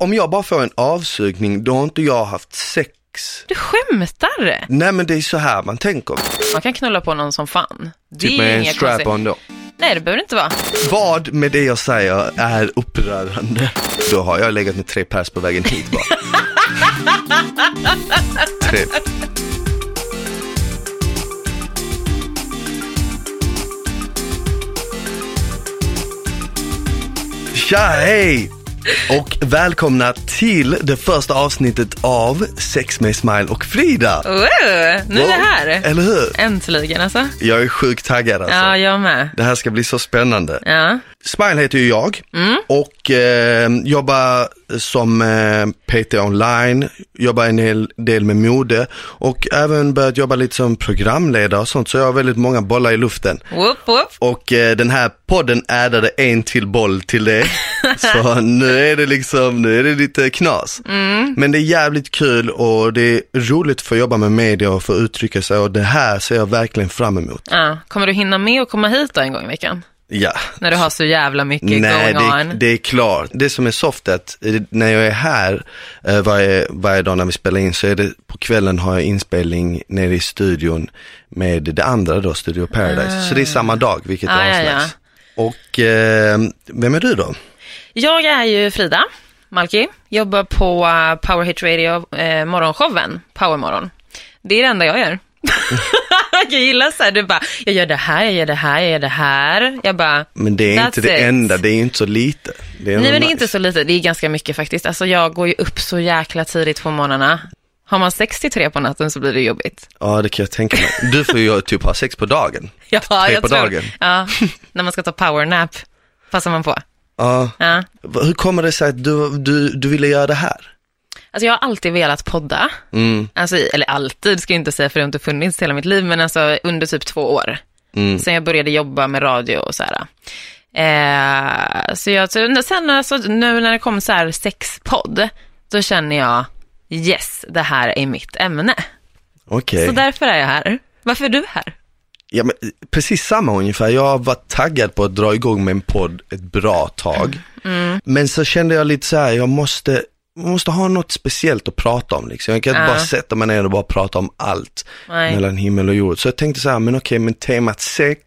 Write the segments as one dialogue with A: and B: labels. A: om jag bara får en avsugning, då har inte jag haft sex.
B: Du skämtar?
A: Nej men det är så här man tänker.
B: Man kan knulla på någon som fan. Det
A: Typ
B: är ju
A: med en
B: inga konstigt.
A: strap-on då.
B: Nej, det behöver det inte vara.
A: Vad med det jag säger är upprörande? Då har jag legat med tre pers på vägen hit bara. tre. Tja, hej! Och välkomna till det första avsnittet av Sex med Smile och Frida.
B: Oh, nu är det här.
A: Eller hur?
B: Äntligen alltså.
A: Jag är sjukt taggad alltså.
B: Ja, jag med.
A: Det här ska bli så spännande.
B: Ja.
A: Smile heter ju jag och eh, jobbar som eh, PT online, jobbar en hel del med mode och även börjat jobba lite som programledare och sånt så jag har väldigt många bollar i luften.
B: Whoop, whoop.
A: Och eh, den här podden addade en till boll till det. Så nu är det liksom, nu är det lite knas. Men det är jävligt kul och det är roligt att få jobba med media och få uttrycka sig och det här ser jag verkligen fram emot.
B: Ja. Kommer du hinna med att komma hit då en gång i veckan?
A: Ja,
B: När du har så jävla mycket
A: Nej,
B: going
A: det,
B: on.
A: det är klart. Det som är soft är att eh, när jag är här eh, varje, varje dag när vi spelar in så är det på kvällen har jag inspelning nere i studion med det andra då, Studio Paradise. Så det är samma dag, vilket
B: Ah,
A: är
B: ja,
A: asnice. Och eh, vem är du då?
B: Jag är ju Frida Malki, jobbar på eh, Power Hit Radio, eh, morgonshowen Powermorgon. Det är det enda jag gör. jag gillar så här, du bara, jag gör det här, jag gör det här, jag gör det här. Jag bara,
A: Men det är
B: That's
A: inte det
B: it.
A: enda, det är inte så lite. Det är
B: Nej
A: ändå
B: men det är
A: nice.
B: inte så lite, det är ganska mycket faktiskt. Alltså jag går ju upp så jäkla tidigt på morgnarna. Har man 63 på natten så blir det jobbigt.
A: Ja, det kan jag tänka mig. Du får ju typ ha sex på dagen.
B: Ja,
A: Tre
B: jag
A: på
B: tror,
A: dagen.
B: Ja, när man ska ta powernap passar man på.
A: Ja.
B: Ja.
A: Hur kommer det sig att du, du, du ville göra det här?
B: Alltså jag har alltid velat podda.
A: Mm.
B: Alltså, i- eller alltid ska jag inte säga för det har inte funnits hela mitt liv, men alltså under typ två år.
A: Mm.
B: Sen jag började jobba med radio och så här. Eh, så jag, så- sen alltså, nu när det kom så här sexpodd, då känner jag yes, det här är mitt ämne.
A: Okej.
B: Så därför är jag här. Varför är du här?
A: Ja, men precis samma ungefär. Jag var taggad på att dra igång med en podd ett bra tag.
B: Mm.
A: Men så kände jag lite så här, jag måste, jag måste ha något speciellt att prata om. Liksom. Jag kan inte
B: Ja.
A: bara sätta mig ner och bara prata om allt
B: Nej.
A: mellan himmel och jord. Så jag tänkte så här, men okej, men temat sex,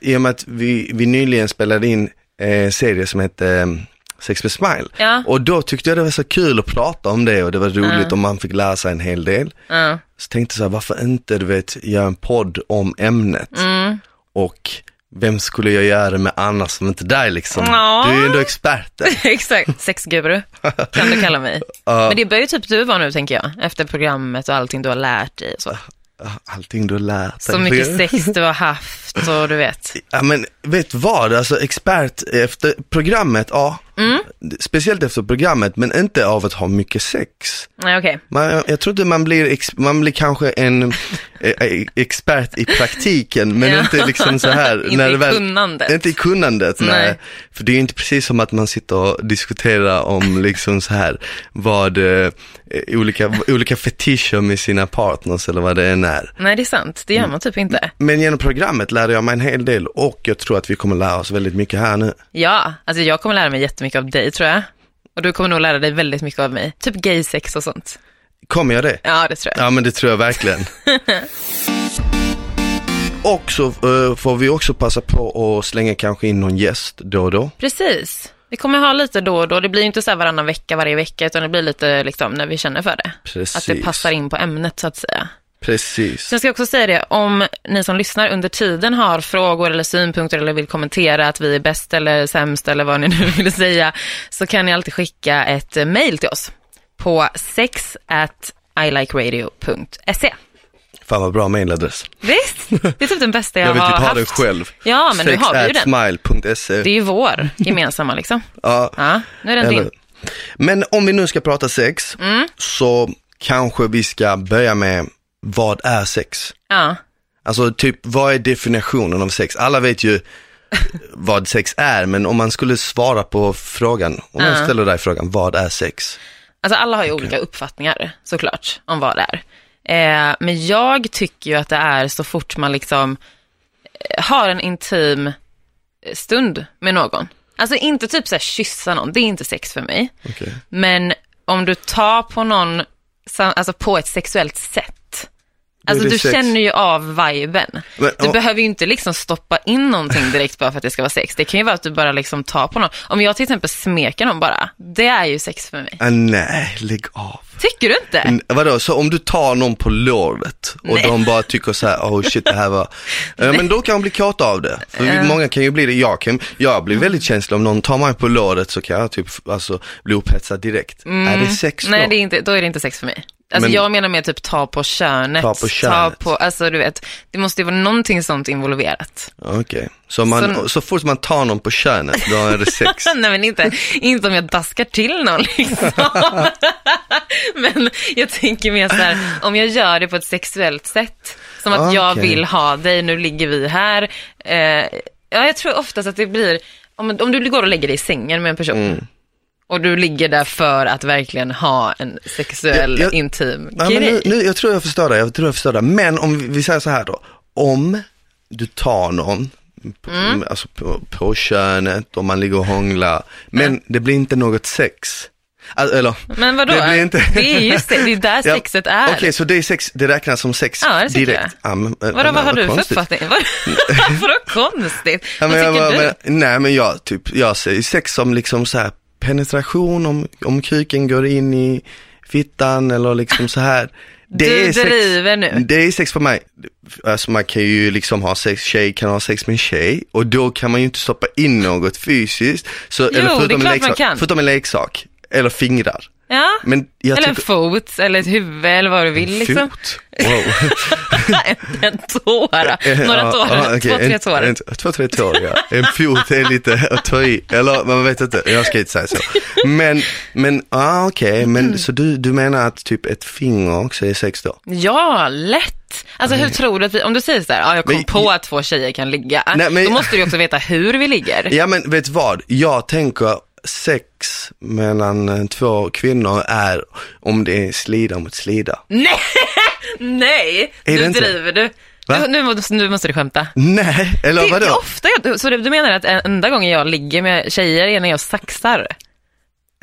A: i och med att vi, vi nyligen spelade in eh, en serie som hette eh, Sex med Smile.
B: Ja.
A: Och då tyckte jag det var så kul att prata om det och det var roligt och man fick lära sig en hel del.
B: Ja.
A: Så tänkte jag så här, varför inte du vet, göra en podd om ämnet?
B: Mm.
A: Och vem skulle jag göra det med annars som inte dig liksom?
B: Ja.
A: Du är ju ändå experten.
B: Exakt. Sexguru kan du kalla mig. Men det bör ju typ du vara nu tänker jag, efter programmet och allting du har lärt dig och så.
A: Ah, Allting du har lärt dig.
B: Så mycket sex du har haft och du vet.
A: Ja men vet vad, alltså expert efter programmet, ja.
B: Mm.
A: Speciellt efter programmet, men inte av att ha mycket sex.
B: Nej okej.
A: Man, jag tror inte man blir, ex, man blir kanske en eh, eh, expert i praktiken men
B: Ja.
A: inte liksom så här.
B: Inte i kunnandet.
A: Inte i kunnandet, nej.
B: Nej.
A: För det är ju inte precis som att man sitter och diskuterar om liksom så här vad eh, olika, olika fetischer med sina partners eller vad det än är.
B: Nej det är sant, det gör man typ inte.
A: Men genom programmet lärde jag mig en hel del och jag tror att vi kommer lära oss väldigt mycket här nu.
B: Ja, alltså jag kommer lära mig jättemycket av dig tror jag. Och du kommer nog lära dig väldigt mycket av mig. Typ gay sex och sånt.
A: Kommer jag det?
B: Ja det tror jag.
A: Ja men det tror jag verkligen. och så eh, får vi också passa på att slänga kanske in någon gäst då och då.
B: Precis. Vi kommer ha lite då och då. Det blir ju inte så här varannan vecka varje vecka utan det blir lite liksom när vi känner för det.
A: Precis.
B: Att det passar in på ämnet så att säga.
A: Precis.
B: Sen ska jag också säga det, om ni som lyssnar under tiden har frågor eller synpunkter eller vill kommentera att vi är bäst eller sämst eller vad ni nu vill säga, så kan ni alltid skicka ett eh, mail till oss på sex at ilikeradio.se.
A: Fan vad bra mailadress.
B: Visst, det är typ den bästa jag,
A: Jag vill
B: har
A: typ ha
B: haft.
A: den själv.
B: Ja, men nu har vi ju den. Det
A: Smile.se.
B: är ju vår gemensamma liksom.
A: E. Ja,
B: Ja, nu är den
A: eller-
B: din.
A: Men om vi nu ska prata sex
B: Mm.
A: så kanske vi ska börja med vad är sex?
B: Ja,
A: Alltså typ, vad är definitionen av sex? Alla vet ju vad sex är, men om man skulle svara på frågan, om jag ställer dig frågan, vad är sex?
B: alltså alla har ju olika uppfattningar såklart om vad det är. Eh, men jag tycker ju att det är så fort man liksom eh, har en intim eh, stund med någon. Alltså inte typ så här kyssa någon, det är inte sex för mig.
A: Okej.
B: Men om du tar på någon, sam- alltså på ett sexuellt sätt. Alltså
A: det
B: du
A: sex.
B: känner ju av viben.
A: Men,
B: du
A: och-
B: behöver ju inte liksom stoppa in någonting direkt bara för att det ska vara sex. Det kan ju vara att du bara liksom tar på någon. Om jag till exempel smeker någon bara, det är ju sex för mig.
A: Ah, nej, lägg av.
B: Tycker du inte?
A: N- Vadå, så om du tar någon på låret och
B: Nej.
A: de bara tycker så här, oh shit det här var, Eh, men då kan de bli kåta av det. För vi- många kan ju bli det, jag kan, jag blir väldigt känslig, om någon tar mig på låret så kan jag typ, f- alltså bli upphetsad direkt. Är det sex då?
B: Mm. Nej, det är inte, då är det inte sex för mig. Alltså
A: Men-
B: jag menar mer typ ta på könet.
A: Ta på könet.
B: på, alltså du vet, det måste ju vara någonting sånt involverat.
A: Okej, så, man, så...
B: Så-
A: fort man tar någon på könet, då är det sex.
B: Nej men inte, inte om jag daskar till någon liksom. men jag tänker mer så här, om jag gör det på ett sexuellt sätt. Som att jag
A: Okej.
B: vill ha dig, nu ligger vi här. Eh, ja, jag tror oftast att det blir, om, om du går och lägger dig i sängen med en person.
A: Mm.
B: Och du ligger där för att verkligen ha en sexuell,
A: Jag- jag-
B: intim
A: Ja,
B: grej.
A: men nu, nu, jag tror jag förstår det, jag tror jag förstår det. Men om vi, vi säger så här då, om du tar någon, på-
B: Mm.
A: alltså på, på könet, om man ligger och hånglar, men det blir inte något sex. Alltså, eller,
B: Men vadå?
A: Det
B: Det,
A: blir inte-
B: är ju se- det är där
A: Ja,
B: sexet är.
A: Okej, så det, är sex, det räknas som sex
B: Ja, det tycker
A: direkt? Ja, men, eh,
B: Vadå,
A: men,
B: vad har du för
A: konstigt.
B: uppfattning? Vad- Vadå konstigt?
A: Ja, men,
B: vad
A: jag,
B: tycker
A: bara-
B: du?
A: Men, nej, men jag, typ, jag ser sex som liksom så här penetration, om, om kuken går in i fittan eller liksom så här. Det
B: du
A: är sex.
B: driver nu.
A: Det är sex för mig. Alltså man kan ju liksom ha sex, tjej kan ha sex med en tjej och då kan man ju inte stoppa in något fysiskt. Så,
B: det är klart
A: en
B: man
A: leksak,
B: kan.
A: Förutom en leksak, eller fingrar.
B: Ja.
A: Men jag
B: eller en
A: tycker-
B: fot, eller ett huvud, eller vad du vill liksom.
A: Fot? Wow.
B: en, en tåra,
A: Eh,
B: några
A: ja,
B: tårar,
A: ja, okej.
B: två, tre
A: En-
B: tårar.
A: en- Två, tre tår, ja. En fot är lite att ta i. Eller man vet inte, jag ska inte säga så. Men, men ah, okej, men så du, du menar att typ ett finger också är sex då?
B: Ja, lätt. Alltså hur tror du att vi, om du säger så här, ja, jag kom
A: Men-
B: på att två tjejer kan ligga,
A: Nej, men-
B: då måste du ju också veta hur vi ligger.
A: Ja men vet vad, jag tänker sex mellan eh, två kvinnor är om det är slida mot slida.
B: Nej, nej,
A: Är det
B: nu
A: inte?
B: driver du.
A: Va?
B: Nu, nu, måste- nu måste du skämta.
A: Nej, eller
B: Det är
A: vadå?
B: ofta jag, så du, du menar att enda gången jag ligger med tjejer är när jag saxar?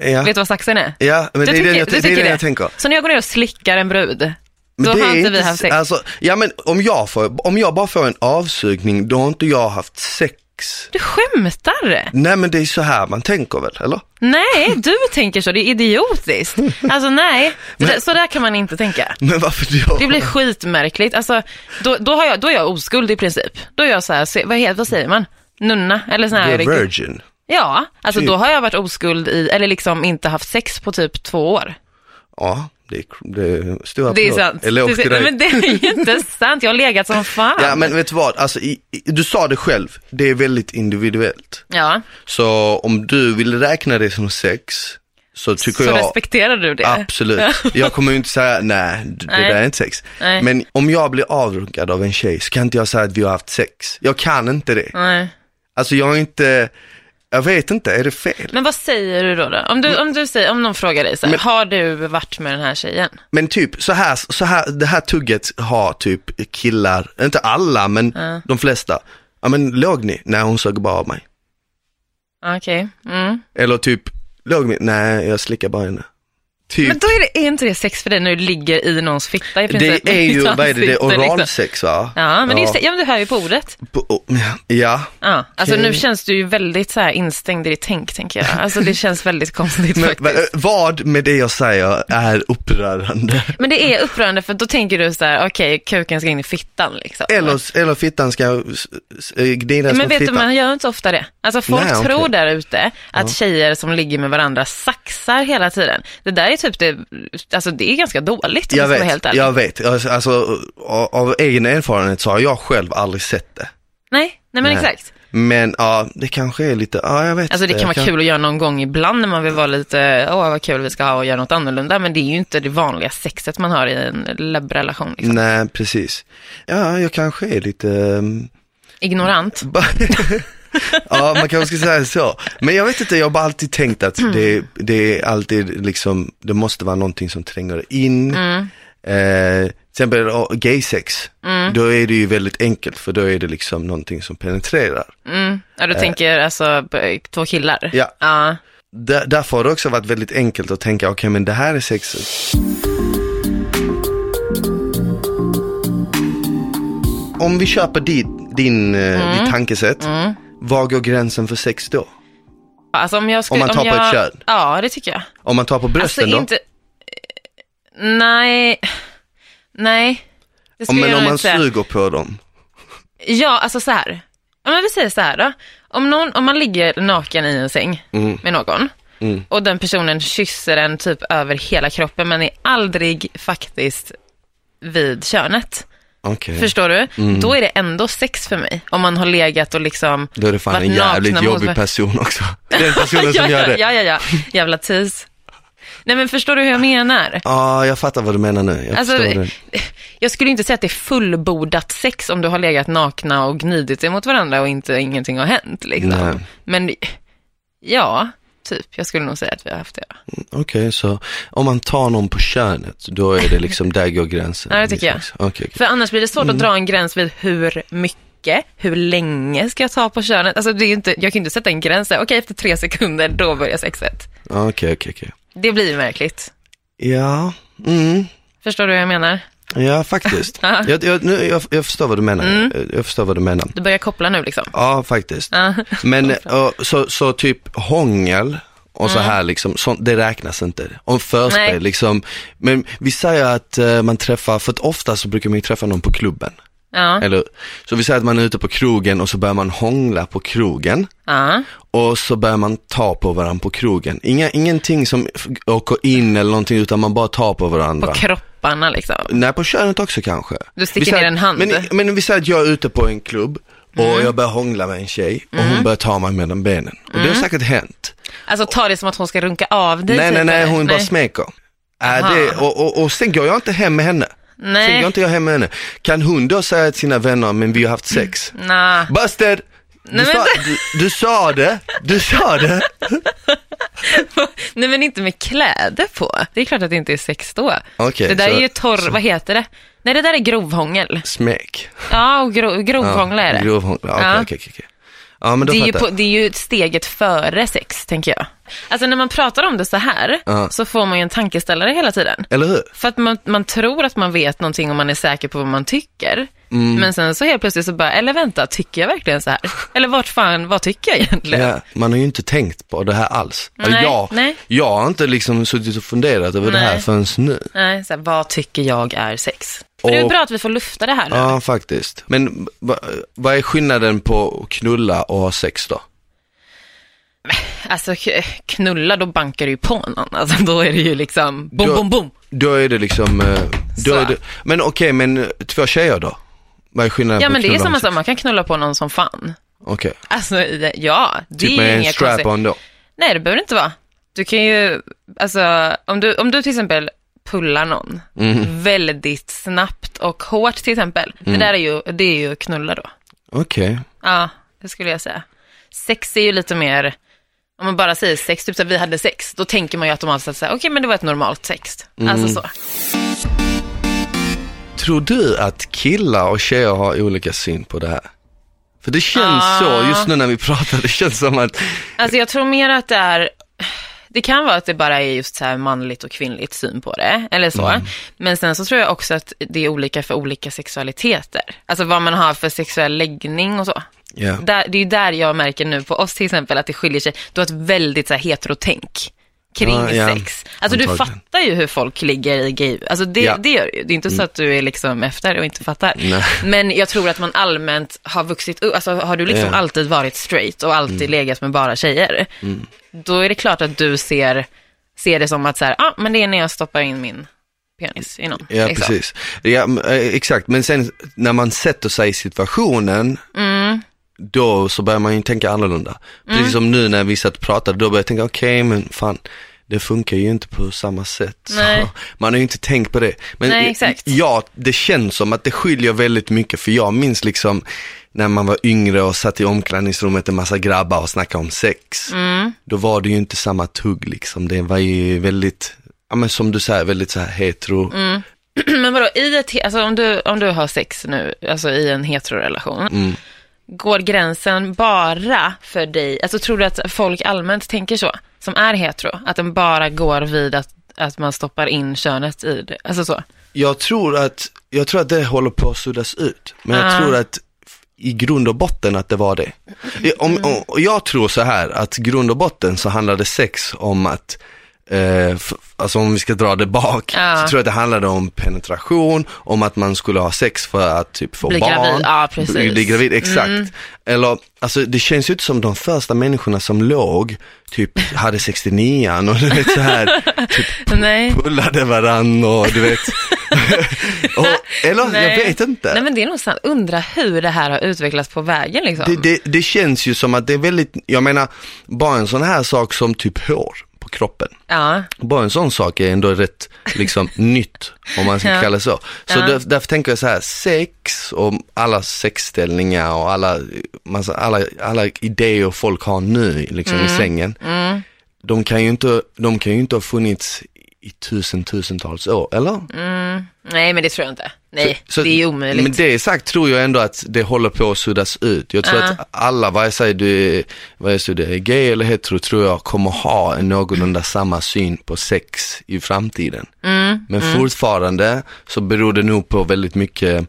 A: Ja,
B: Vet du vad saxen är?
A: ja men
B: du
A: det är
B: tycker-
A: det jag,
B: du
A: det är
B: tycker
A: det
B: det?
A: jag tänker.
B: Så när jag går ner och slickar en brud, då
A: det
B: har
A: är
B: inte vi haft sex?
A: Alltså, ja men om jag, får, om jag bara får en avsugning, då har inte jag haft sex.
B: Du skämtar?
A: Nej men det är så här man tänker väl, eller?
B: Nej, du tänker så. Det är idiotiskt. Alltså nej, så, där, så där kan man inte tänka.
A: Men varför då?
B: Det blir skitmärkligt. Alltså, då, då, har jag, då är jag oskuld i princip. Då är jag så här, se- vad, heter, vad säger man? Nunna? Eller sån
A: Du
B: här...
A: är virgin.
B: Ja, alltså
A: Typ.
B: då har jag varit oskuld i, eller liksom inte haft sex på typ två år.
A: Ja, det är, det är stora
B: Det är
A: applåd.
B: sant.
A: Eloge
B: det,
A: till
B: nej,
A: dig.
B: men det är ju inte sant. Jag har legat som fan.
A: Ja men vet du vad, alltså, i, i, du sa det själv, det är väldigt individuellt.
B: Ja,
A: Så om du vill räkna det som sex, så tycker
B: så
A: jag
B: respekterar du det.
A: absolut. Jag kommer ju inte säga, nej d- det
B: Nej.
A: där är inte sex.
B: Nej.
A: Men om jag blir avrunkad av en tjej så kan inte jag säga att vi har haft sex. Jag kan inte det.
B: Nej.
A: Alltså jag är inte, jag vet inte, är det fel?
B: Men vad säger du då? då? Om, du,
A: Mm.
B: om, du säger, om någon frågar dig så här, har du varit med den här tjejen?
A: Men typ så här, så här, det här tugget har typ killar, inte alla men de flesta. Ja men låg ni? Nej hon sög bara av mig.
B: Okej. Mm.
A: Eller typ, låg ni? Nej jag slickar bara henne. Typ.
B: Men då är, det, är inte det sex för dig när du ligger i någons fitta i princip?
A: Det är ju,
B: I
A: vad är det, det är
B: ansikte, liksom.
A: oralsex va?
B: Ja, men det är ju se- ja, men du hör ju på ordet.
A: På- Ja,
B: Ja. Alltså
A: Okej.
B: nu känns du ju väldigt så här instängd i ditt tänk, tänker jag. Alltså det känns väldigt konstigt
A: men
B: faktiskt.
A: va- vad med det jag säger är upprörande?
B: Men det är upprörande för då tänker du så här, okej, kuken ska in i fittan liksom.
A: Eller, eller fittan ska s- s- gnidas
B: Men
A: mot
B: vet du,
A: fittan.
B: man gör inte ofta det. Alltså folk
A: Nej, okej.
B: tror där ute att tjejer som ligger med varandra saxar hela tiden. Det där är typ det, alltså det är ganska dåligt
A: jag
B: om jag ska
A: vet,
B: vara helt ärlig.
A: jag vet. Alltså, Alltså, av, av egen erfarenhet så har jag själv aldrig sett det.
B: Nej, nej men
A: Nej.
B: exakt.
A: Men ja, det kanske är lite, ja jag vet
B: Alltså det
A: inte.
B: kan vara
A: Jag
B: kul att göra någon gång ibland när man vill vara lite, åh vad kul vi ska ha och göra något annorlunda, men det är ju inte det vanliga sexet man har i en labbrelation. Liksom.
A: Nej, precis. Ja, jag kanske är lite, ehm,
B: Ignorant.
A: Ba- ja, man kanske ska säga så. Men jag vet inte, jag har bara alltid tänkt att det,
B: Mm.
A: det är alltid liksom, det måste vara någonting som tränger in. Eh, Till exempel ja, gaysex,
B: Mm.
A: då är det ju väldigt enkelt för då är det liksom någonting som penetrerar.
B: Mm. Ja, du tänker alltså på- två killar?
A: Eh. Ja.
B: ja.
A: Där, därför har det också varit väldigt enkelt att tänka, okej men det här är sexet. Om vi köper din, din, eh,
B: Mm.
A: ditt tankesätt, var går gränsen för sex då?
B: Alltså om jag skulle...
A: Om man tar på
B: jag,
A: ett kön?
B: Ja, det tycker jag.
A: Om man tar på brösten
B: alltså
A: då?
B: inte... Nej. Nej. Det
A: Om,
B: skulle
A: men
B: jag
A: om
B: nog
A: man
B: inte säga.
A: suger på dem?
B: Ja, alltså så här. Ja, men vi säger så här då. Om, någon, om man ligger naken i en säng med någon
A: Mm.
B: och den personen kysser en typ över hela kroppen men är aldrig faktiskt vid könet.
A: Okej,
B: Förstår du?
A: Mm.
B: Då är det ändå sex för mig. Om man har legat och liksom
A: då är det fan
B: varit
A: en jävligt
B: nakna mot-
A: jobbig person också. Den personen som
B: ja,
A: gör det. Ja,
B: Ja, ja, ja. Jävla tis. Nej men förstår du hur jag menar?
A: jag fattar vad du menar nu. Jag
B: Alltså,
A: förstår det.
B: jag skulle inte säga att det är fullbordat sex om du har legat nakna och gnidit sig mot varandra och inte, ingenting har hänt.
A: Nej.
B: Liksom. Men ja, typ. Jag skulle nog säga att vi har haft det.
A: Okej, så om man tar någon på könet, då är det liksom, där går gränsen.
B: Ja, det tycker jag.
A: Liksom. Okej, okej.
B: För annars blir det svårt
A: Mm.
B: att dra en gräns vid hur mycket, hur länge ska jag ta på könet? Alltså, det är ju inte, jag kan ju inte sätta en gräns. så här, Okej, efter tre sekunder, då börjar sexet.
A: Okej, okej, okej.
B: Det blir ju märkligt.
A: Ja, mm.
B: Förstår du hur jag menar?
A: ja faktiskt. jag, jag, nu, jag, jag förstår vad du menar.
B: Mm.
A: Jag, jag förstår vad du menar.
B: Du börjar koppla nu liksom.
A: Ja, faktiskt.
B: Ja.
A: Men eh, och, så, så typ hångel och så här liksom, så, det räknas inte. Om
B: Mm. Nej.
A: förspel liksom, men vi säger att eh, man träffar, för att ofta så brukar man ju träffa någon på klubben.
B: Ja.
A: Eller Så vi säger att man är ute på krogen och så börjar man hångla på krogen.
B: ja.
A: Och så börjar man ta på varandra på krogen. Inga, ingenting som f- åker in eller någonting utan man bara tar på varandra.
B: På kropparna liksom.
A: Nej, på könet också kanske.
B: Du sticker
A: Vi säger
B: ner
A: att-
B: en hand. Mm.
A: Men, men vi säger att jag är ute på en klubb och jag börjar hångla med en tjej och hon börjar ta mig mellan benen. Och
B: Mm.
A: det har säkert hänt.
B: Alltså ta det som att hon ska runka av dig.
A: nej,
B: typ,
A: nej, nej,
B: eller?
A: hon bara smeker. Äh,
B: Aha.
A: det, och, och, och sen går jag inte hem med henne. Sen går
B: Nej,
A: inte jag hem med henne. Kan hon då säga till sina vänner, men vi har haft sex.
B: nej.
A: Buster! Du,
B: Mm. Nej, men-
A: sa, du, du sa det, du sa det.
B: nej, men inte med kläder på. Det är klart att det inte är sex då.
A: Okej,
B: det där
A: så-
B: är ju torr, vad heter det? Nej, det där är grovhångel.
A: Smek.
B: Ja, och gro,
A: Ja,
B: grovhångla är det.
A: Grovhångla, okej,
B: Ja.
A: okej, okej, okej. Ja, men då
B: det, är ju
A: fattar
B: på,
A: jag.
B: det är ju steget före sex, tänker jag. Alltså när man pratar om det så här,
A: Ja.
B: så får man ju en tankeställare hela tiden.
A: Eller hur?
B: För att man, man tror att man vet någonting och man är säker på vad man tycker.
A: Mm.
B: Men sen så helt plötsligt så bara, eller vänta, tycker jag verkligen så här? Eller vart fan, vad tycker jag egentligen?
A: Ja, man har ju inte tänkt på det här alls. Alltså,
B: Nej,
A: jag,
B: nej.
A: jag har inte liksom suttit och funderat över det här
B: Nej.
A: förrän nu.
B: Nej, så här, vad tycker jag är sex? Men det är
A: Och-
B: bra att vi får lufta det här nu.
A: Ja, faktiskt. Men va- vad är skillnaden på att knulla och ha sex då?
B: Alltså k- knulla, då bankar du ju på någon. Alltså, då är det ju liksom bom,
A: Då-
B: bom, bom.
A: Då är det liksom, eh, då
B: Så.
A: är det, men okej, men eh, två tjejer då? Vad är skillnaden
B: Ja,
A: på
B: men
A: att
B: det är
A: knulla
B: samma
A: och
B: sak.
A: sex?
B: Man kan knulla på någon som fan.
A: Okej,
B: Alltså, i- ja, det
A: typ
B: är ju
A: med
B: inga
A: en strap-on då?
B: Nej, det behöver det inte vara. Du kan ju, alltså, om du, om du till exempel pullar någon
A: Mm.
B: väldigt snabbt och hårt till exempel. Det där är ju, det är ju knulla då.
A: Okej,
B: Ja, det skulle jag säga. Sex är ju lite mer, om man bara säger sex, typ så här, vi hade sex, då tänker man ju automatiskt att säga, okej men det var ett normalt sex.
A: Mm.
B: Alltså så.
A: tror du att killar och tjejer har olika syn på det här? För det känns
B: Ah.
A: så, just nu när vi pratar, det känns som att,
B: Alltså jag tror mer att det är, det kan vara att det bara är just så här manligt och kvinnligt syn på det, eller så. Men sen så tror jag också att det är olika för olika sexualiteter. Alltså vad man har för sexuell läggning och så.
A: ja,
B: Där, det är ju där jag märker nu på oss till exempel att det skiljer sig. Du har ett väldigt så här heterotänk kring
A: Ja, ja.
B: sex. Alltså du
A: Antagligen.
B: fattar ju hur folk ligger i gay. Alltså det,
A: Ja. Mm.
B: det gör du ju. Det är inte så att du är liksom efter och inte fattar.
A: Nej.
B: Men jag tror att man allmänt har vuxit upp. Alltså har du liksom
A: Ja. Mm.
B: alltid varit straight och alltid legat med bara tjejer. Då är det klart att du ser, ser det som att så här, ah, men det är när jag stoppar in min penis i någon.
A: Ja,
B: liksom.
A: precis. Ja, m- eh, exakt. Men sen när man sätter sig i situationen,
B: Mm.
A: då så börjar man ju tänka annorlunda. Precis som nu när vi satt och pratade, då började jag tänka, okej men fan, det funkar ju inte på samma sätt.
B: Nej.
A: Så, man har ju inte tänkt på det. Men
B: Nej,
A: i-
B: exakt.
A: ja, det känns som att det skiljer väldigt mycket, för jag minns liksom när man var yngre och satt i omklädningsrummet en massa grabbar och snackade om sex.
B: Mm.
A: Då var det ju inte
B: Mm.
A: samma tugg liksom, det var ju väldigt, ja men som du säger, väldigt så här hetero
B: Men vadå, i ett, alltså om, du, om du har sex nu, alltså i en heterorelation,
A: Mm.
B: går gränsen bara för dig, alltså tror du att folk allmänt tänker så, som är hetero, att den bara går vid att, att man stoppar in könet i det, alltså så?
A: Jag tror att, jag tror att det håller på att suddas ut, men jag
B: Ah.
A: tror att i grund och botten att det var det. I-
B: Mm.
A: Om, om, och jag tror så här att grund och botten så handlade sex om att, eh, f- alltså om vi ska dra det bak,
B: Ja.
A: så tror jag att det handlade om penetration, om att man skulle ha sex för att typ få
B: Bli
A: barn.
B: gravid, ja, precis. Mm.
A: Bli, bli gravid, exakt. Eller, alltså det känns ju inte som de första människorna som låg, typ hade 69an och du vet så här, typ
B: Nej.
A: pullade varann och du vet. och, eller jag vet inte.
B: Nej men det är nog sant, undra hur det här har utvecklats på vägen liksom.
A: det, det, det känns ju som att det är väldigt, jag menar, bara en sån här sak som typ hår på kroppen.
B: Ja,
A: Bara en sån sak är ändå rätt liksom nytt om man ska
B: Ja.
A: kalla det så. Så
B: Ja.
A: där, därför tänker jag så här, sex och alla sexställningar och alla, massa, alla, alla idéer folk har nu liksom
B: Mm.
A: i sängen. De, kan ju inte, de kan ju inte ha funnits i tusen, tusentals år, eller?
B: nej men det tror jag inte. Nej,
A: Så-
B: det är omöjligt.
A: Med det sagt tror jag ändå att det håller på att suddas ut. Jag tror att alla, vare sig du, är- vare sig du är gay eller hetero, tror jag kommer ha en någorlunda samma syn på sex i framtiden.
B: Mm,
A: Men fortfarande så beror det nog på väldigt mycket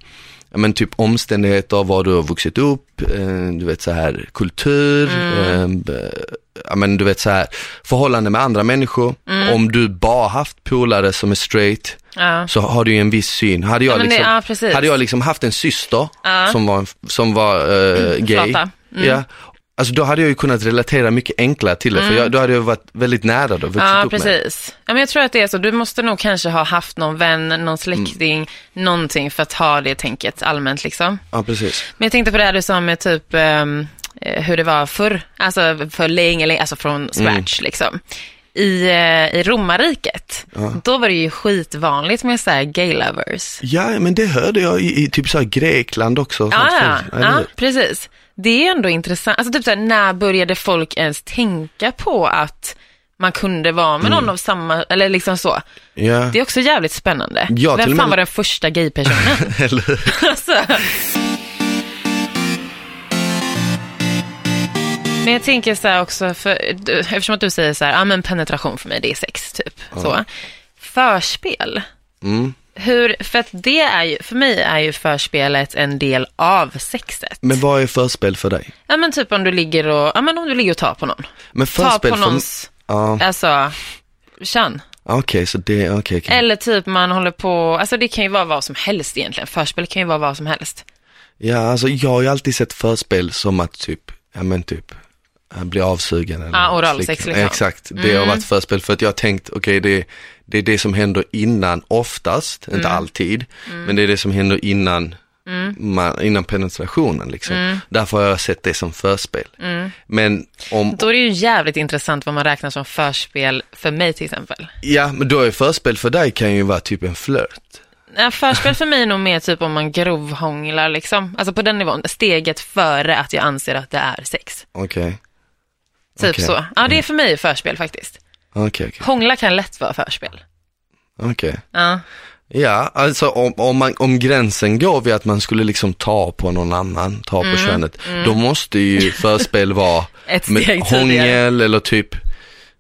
A: ja, men typ omständigheter, var du har vuxit upp, eh, du vet så här kultur,
B: Mm.
A: eh, b- ja, men du vet så här förhållande med andra människor.
B: Mm.
A: Om du bara haft polare som är straight,
B: Ja.
A: så har du ju en viss syn. Hade jag,
B: men det-
A: liksom,
B: ja, precis.
A: hade jag liksom haft en syster
B: Ja. Mm,
A: som var, en f- som var eh, gay,
B: flata.
A: ja, alltså då hade jag ju kunnat relatera mycket enklare till det, för jag, då hade jag varit väldigt nära då, vuxit
B: Mm. Ja,
A: upp med det.
B: precis. Ja, men jag tror att det är så. Du måste nog kanske ha haft någon vän,
A: Mm.
B: någon släkting, någonting för att ha det tänket allmänt liksom.
A: Ja, precis.
B: Men jag tänkte på det här du sa med typ ehm, eh, hur det var förr, alltså för länge, länge alltså från
A: Mm.
B: scratch liksom. I, eh, I romarriket, då var det ju skitvanligt med så här gay lovers.
A: Ja, men det hörde jag i, i typ så här Grekland också. och
B: Ja,
A: sånt.
B: ja,
A: eller
B: ja,
A: hur?
B: precis. Det är ändå intressant. Alltså typ så här, när började folk ens tänka på att man kunde vara med
A: Mm.
B: någon av samma, eller liksom så.
A: ja.
B: Det är också jävligt spännande.
A: Ja, till och
B: Vem
A: med-
B: fan var den första gaypersonen?
A: Eller hur?
B: alltså. Men jag tänker så här också, för, du- eftersom att du säger så här, ja men penetration för mig det är sex typ. Så. Förspel.
A: Mm.
B: Hur, för att det är ju, för mig är ju förspelet en del av sexet.
A: Men vad är förspel för dig?
B: Ja men typ om du ligger och, ja men om du ligger och tar på någon.
A: Men
B: Ta
A: förspel
B: på
A: för...
B: någons,
A: Ja,
B: alltså, kön.
A: okej, så det, okej, okej.
B: Eller typ man håller på, alltså det kan ju vara vad som helst egentligen. Förspel kan ju vara vad som helst.
A: Ja, alltså jag har ju alltid sett förspel som att typ, ja men typ, eh, bli avsugen eller
B: Ja, oralsex
A: slicka.
B: liksom.
A: Exakt, det har varit förspel för att jag har tänkt, okej det, det är det som händer innan oftast, inte
B: Mm.
A: alltid, men det är det som händer innan Man, innan penetrationen liksom.
B: Mm.
A: Därför har jag sett det som förspel. Men om,
B: Då är det ju jävligt intressant vad man räknar som förspel för mig till exempel.
A: ja men då är förspel för dig kan ju vara typ en flört.
B: Nej, förspel för mig är nog mer typ om man grovhånglar liksom. Alltså på den nivån, steget före att jag anser att det är sex.
A: Okej,
B: Typ
A: Okej.
B: så. Ja, det är för mig förspel faktiskt.
A: okej, okej,
B: Hångla kan lätt vara förspel.
A: okej.
B: Ja.
A: Ja, alltså om, om, man, om gränsen går vid att man skulle liksom ta på någon annan, ta på könet, då måste ju förspel vara
B: Mm, Ett
A: med
B: steg tidigare.
A: hångel eller typ,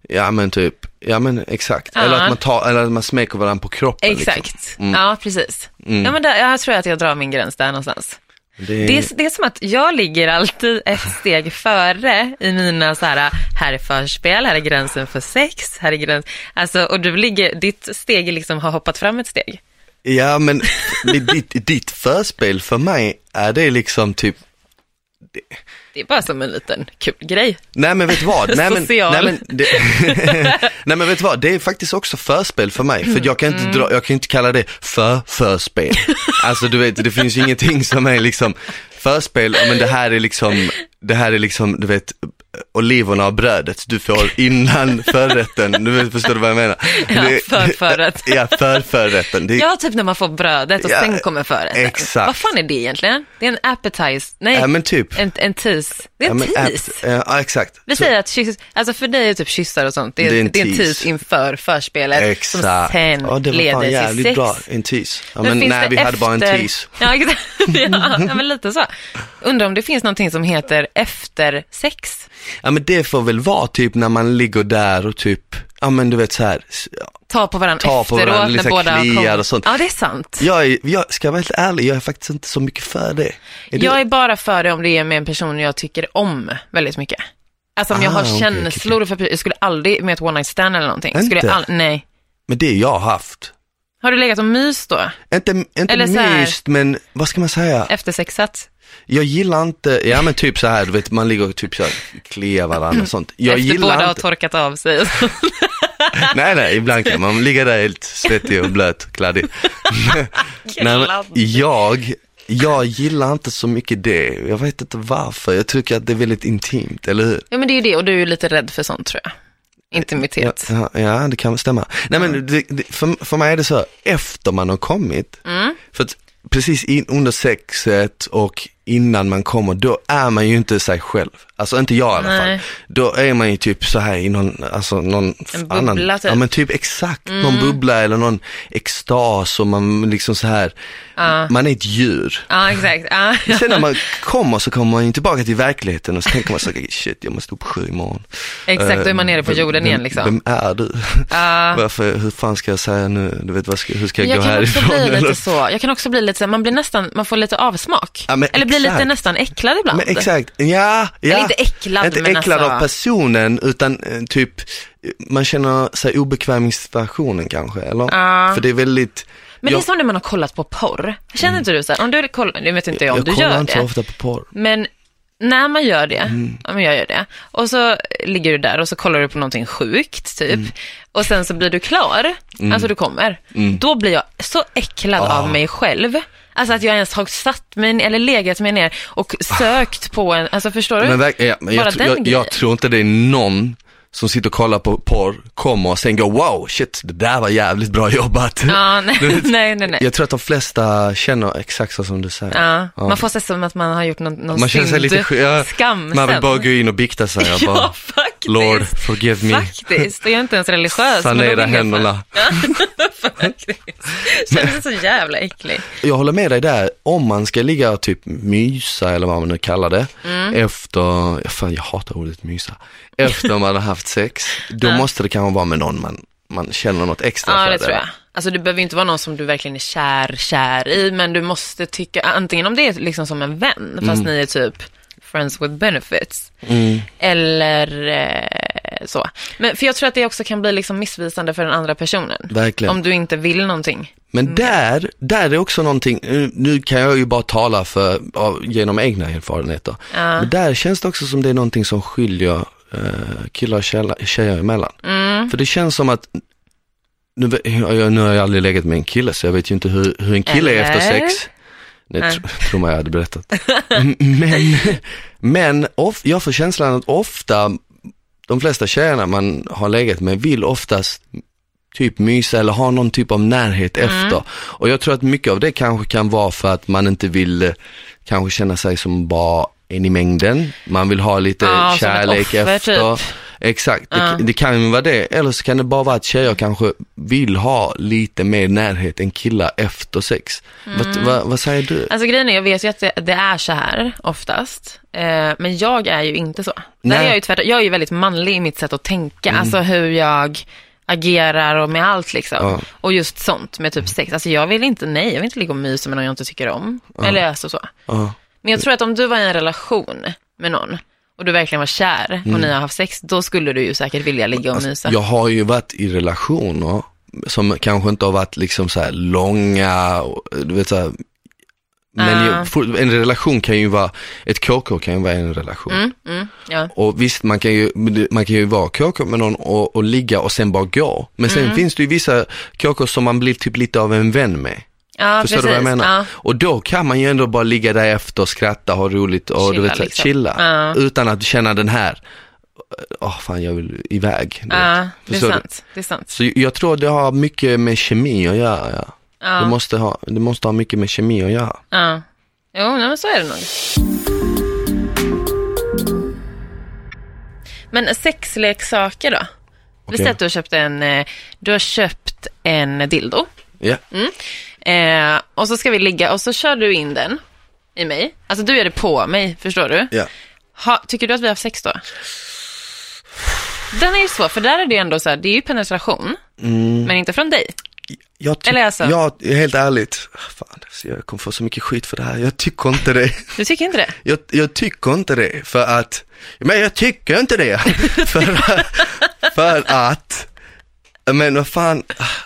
A: ja men typ, ja men exakt. Eller,
B: Ja.
A: att man tar, eller att man smeker varandra på kroppen. Liksom.
B: Exakt. Ja, precis. Ja, men där, jag tror att jag drar min gräns där någonstans.
A: Det,
B: Det är, det är som att jag ligger alltid ett steg före i mina så här, här är förspel, här är gränsen för sex, här är gräns, alltså och du ligger, ditt steg liksom har hoppat fram ett steg.
A: Ja men det- ditt, ditt förspel för mig är det liksom typ,
B: Det är bara som en liten kul grej.
A: Nej men vet du vad? Nej men,
B: Social.
A: nej, men, det, nej men vet du vad, det är faktiskt också förspel för mig, för jag kan
B: Mm.
A: inte, dra, jag kan inte kalla det för förspel. Alltså du vet, det finns ju ingenting som är liksom förspel, ja, men det här är liksom, det här är liksom, du vet, oliverna och brödet du får innan förrätten. Nu förstår du vad jag menar.
B: Ja,
A: Det-
B: förförrätt.
A: Ja, förförrätten. Det är
B: Ja, typ när man får brödet och
A: Ja,
B: sen kommer förrätten.
A: exakt.
B: Vad fan är det egentligen? Det är en appetizer. Nej,
A: Ja men typ.
B: en, en tease. Det är
A: Ja,
B: en
A: men
B: tease.
A: app- ja, ja, exakt.
B: Vi säger att kyss, alltså för dig är typ kyssar och sånt, det är, det är en, tease. inför förspelet som
A: Exakt.
B: sen
A: Ja, det var fan
B: leder till
A: jävligt
B: sex.
A: bra. En tease. Ja, men
B: finns
A: nej,
B: det
A: vi hade bara en
B: efter-
A: tease.
B: Ja, exakt. ja, ja, men lite så. Undrar om det finns någonting som heter efter sex?
A: Ja men det får väl vara typ när man ligger där och typ, ja men du vet så här. s-
B: Ta på varandra
A: Ta på
B: efteråt
A: varandra,
B: när
A: liksom
B: båda har
A: kliar
B: kommit.
A: och sånt.
B: Ja, det är sant.
A: Jag, är, jag ska vara helt ärlig, jag är faktiskt inte så mycket för det. Är du-
B: Jag är bara för det om det är med en person jag tycker om väldigt mycket. Alltså om jag
A: Ah,
B: har
A: okej,
B: känslor för jag skulle aldrig med ett one night stand eller någonting.
A: Inte?
B: Skulle jag all... Nej.
A: Men det jag har haft.
B: Har du legat och mys då?
A: Inte, inte
B: Eller så här-
A: myst men vad ska man säga?
B: Efter sexat?
A: Jag gillar inte, ja men typ så här, du vet man ligger och typ så här, kliar varandra och sånt. Jag
B: Efter
A: gillar
B: båda har
A: inte,
B: torkat av sig?
A: nej nej, ibland kan man ligga där helt svettig och blöt, kladdig. Nej, men jag, jag gillar inte så mycket det, jag vet inte varför, jag tycker att det är väldigt intimt, eller hur?
B: ja men det är ju det och du är ju lite rädd för sånt tror jag.
A: Ja,
B: Intimitet.
A: ja, ja, det kan stämma. Nej men det, det, för, för mig är det så, här, efter man har kommit,
B: Mm.
A: för att precis in, under sexet och innan man kommer, då är man ju inte sig själv. Alltså inte jag i alla fall.
B: Nej.
A: Då är man ju typ så här i någon, alltså någon
B: En bubbla,
A: annan.
B: typ. Mm.
A: Ja men typ exakt, någon bubbla eller någon extas och man liksom så här, man är ett djur.
B: Ja, exakt. Ja.
A: Sen när man kommer så kommer man ju tillbaka till verkligheten och så tänker man så här, shit jag måste upp sju imorgon.
B: Exakt, då är man
A: Eh,
B: nere på
A: vem-
B: jorden igen
A: vem-
B: liksom.
A: Vem är du?
B: Ja.
A: Varför, hur fan ska jag säga nu? Du vet, vad ska, hur ska jag,
B: Jag
A: gå
B: kan också
A: härifrån?
B: bli
A: eller?
B: lite så. Jag kan också bli lite så, man blir nästan, man får lite avsmak.
A: Ja, men
B: Eller blir
A: exakt.
B: lite nästan äcklad ibland.
A: Men exakt, ja, ja.
B: Eller inte äcklad,
A: Inte
B: men
A: äcklad
B: alltså-
A: av personen utan eh, typ, eh, man känner sig obekväm i situationen kanske, eller?
B: Ja.
A: För det är väldigt,
B: Men
A: jag,
B: det
A: Mm.
B: är som när man har kollat på porr. Känner inte du så här, om du kollar, nu vet inte jag om
A: jag
B: du gör
A: kollar inte
B: det.
A: så ofta Mm. på porr.
B: Men när man gör det, ja men jag gör det, och så ligger du där och så kollar du på någonting sjukt typ,
A: Mm.
B: och sen så blir du klar, alltså du kommer,
A: Mm.
B: då blir jag så äcklad
A: Ah.
B: av mig själv. Alltså att jag ens har satt mig ner- eller legat mig ner och sökt på en, alltså förstår du?
A: Men, verk- ja, men
B: Bara
A: jag, tr-
B: den
A: jag,
B: grejen.
A: jag tror inte det är någon som sitter och kollar på porr, kommer och sen går wow, shit, det där var jävligt bra jobbat.
B: Ja, nej, nej, nej. nej.
A: Jag tror att de flesta känner exakt så som du säger.
B: Ja, man får sig som att man har gjort någon, någon
A: Man känner sig lite
B: synd,
A: sk- ja,
B: skam
A: Man vill
B: sen.
A: bara gå in och bikta sig och
B: Ja,
A: bara,
B: faktiskt.
A: Lord forgive me.
B: Faktiskt, och jag är inte ens religiös. men då vill
A: Sanera
B: jag fan-
A: händerna.
B: Faktiskt. Känner mig så jävla äcklig.
A: Jag håller med dig där, om man ska ligga och typ mysa eller vad man nu kallar det,
B: Mm.
A: efter, fan jag hatar ordet mysa, efter man har haft sex, då måste det kanske vara med någon man, man känner något extra
B: Ja,
A: för.
B: det tror jag. Alltså du behöver inte vara någon som du verkligen är kär, kär i, men du måste tycka, antingen om det är liksom som en vän,
A: Mm.
B: fast ni är typ friends with benefits, eller eh, så. Men, för jag tror att det också kan bli liksom missvisande för den andra personen.
A: Verkligen.
B: Om du inte vill någonting.
A: Men där, där är också någonting, nu- nu kan jag ju bara tala för, av, genom egna erfarenheter, men där känns det också som det är någonting som skiljer eh, killar och tjejer, tjejer emellan.
B: Mm.
A: För det känns som att, nu, vet- jag, nu har jag aldrig legat med en kille så jag vet ju inte hur, hur en kille är efter
B: Eller?
A: sex. Det tr- tror man jag hade berättat. M- men men of, jag får känslan att ofta, de flesta tjejerna man har legat med vill oftast typ mysa eller ha någon typ av närhet
B: Mm.
A: efter. Och jag tror att mycket av det kanske kan vara för att man inte vill eh, kanske känna sig som bara en i mängden. Man vill ha lite
B: Ja, som ett
A: kärlek
B: offer,
A: efter.
B: typ.
A: Exakt,
B: Ja.
A: det, det kan ju vara det. Eller så kan det bara vara att tjejer kanske vill ha lite mer närhet än killar efter sex. Vad,
B: Mm.
A: vad, vad säger du?
B: Alltså grejen är, jag vet ju att det, det är så här oftast, eh, men jag är ju inte så. Där är
A: Nej. Mm.
B: jag, ju tvärtom, jag är ju väldigt manlig i mitt sätt att tänka, alltså hur jag agerar och med allt liksom.
A: Ja.
B: Och just sånt med typ sex, alltså jag vill inte, nej, jag vill inte ligga och mysa med någon jag inte tycker om. Eller alltså så.
A: Ja.
B: Men jag tror att om du var i en relation med någon och du verkligen var kär
A: Mm.
B: och ni har haft sex, då skulle du ju säkert vilja ligga och mysa.
A: Jag har ju varit i relationer som kanske inte har varit liksom så här långa, och, du vet så här, men
B: Ah.
A: ju, for- en relation kan ju vara, ett KK kan ju vara en relation.
B: Mm, ja.
A: Och visst, man kan ju, man kan ju vara KK med någon och,
B: Mm.
A: och ligga och sen bara gå. Men sen finns det ju vissa KK som man blir typ lite av en vän med.
B: Ja,
A: Förstår du vad jag
B: precis.
A: menar?
B: Ja.
A: Och då kan man ju ändå bara ligga där efter, skratta, ha roligt och du
B: Chilla
A: vet, så här,
B: liksom.
A: chilla.
B: Ja.
A: Utan att känna den här, åh fan jag vill iväg. du vet.
B: Ja, det är
A: Förstår du?
B: sant. Det är sant.
A: Så jag tror det har mycket med kemi att göra. Ja.
B: Ja.
A: Du, måste ha, du måste ha mycket med kemi att göra.
B: Ja. Jo, nej, men så är det nog. Men sexleksaker då? Vi säger att du har köpt en, eh, du har köpt en dildo.
A: Ja,
B: Mm. Eh, och så ska vi ligga och så kör du in den i mig. Alltså du gör det på mig, förstår du?
A: ja.
B: Ha, tycker du att vi har haft sex då? Den är ju svår, för där är det ju ändå så här, det är ju penetration, men inte från dig.
A: Jag, ty-
B: Eller alltså-
A: jag helt ärligt, fan, alltså, jag kommer få så mycket skit för det här. Jag tycker inte det.
B: Du tycker inte det?
A: Jag, jag tycker inte det för att, men jag tycker inte det. för, för att, men vad fan,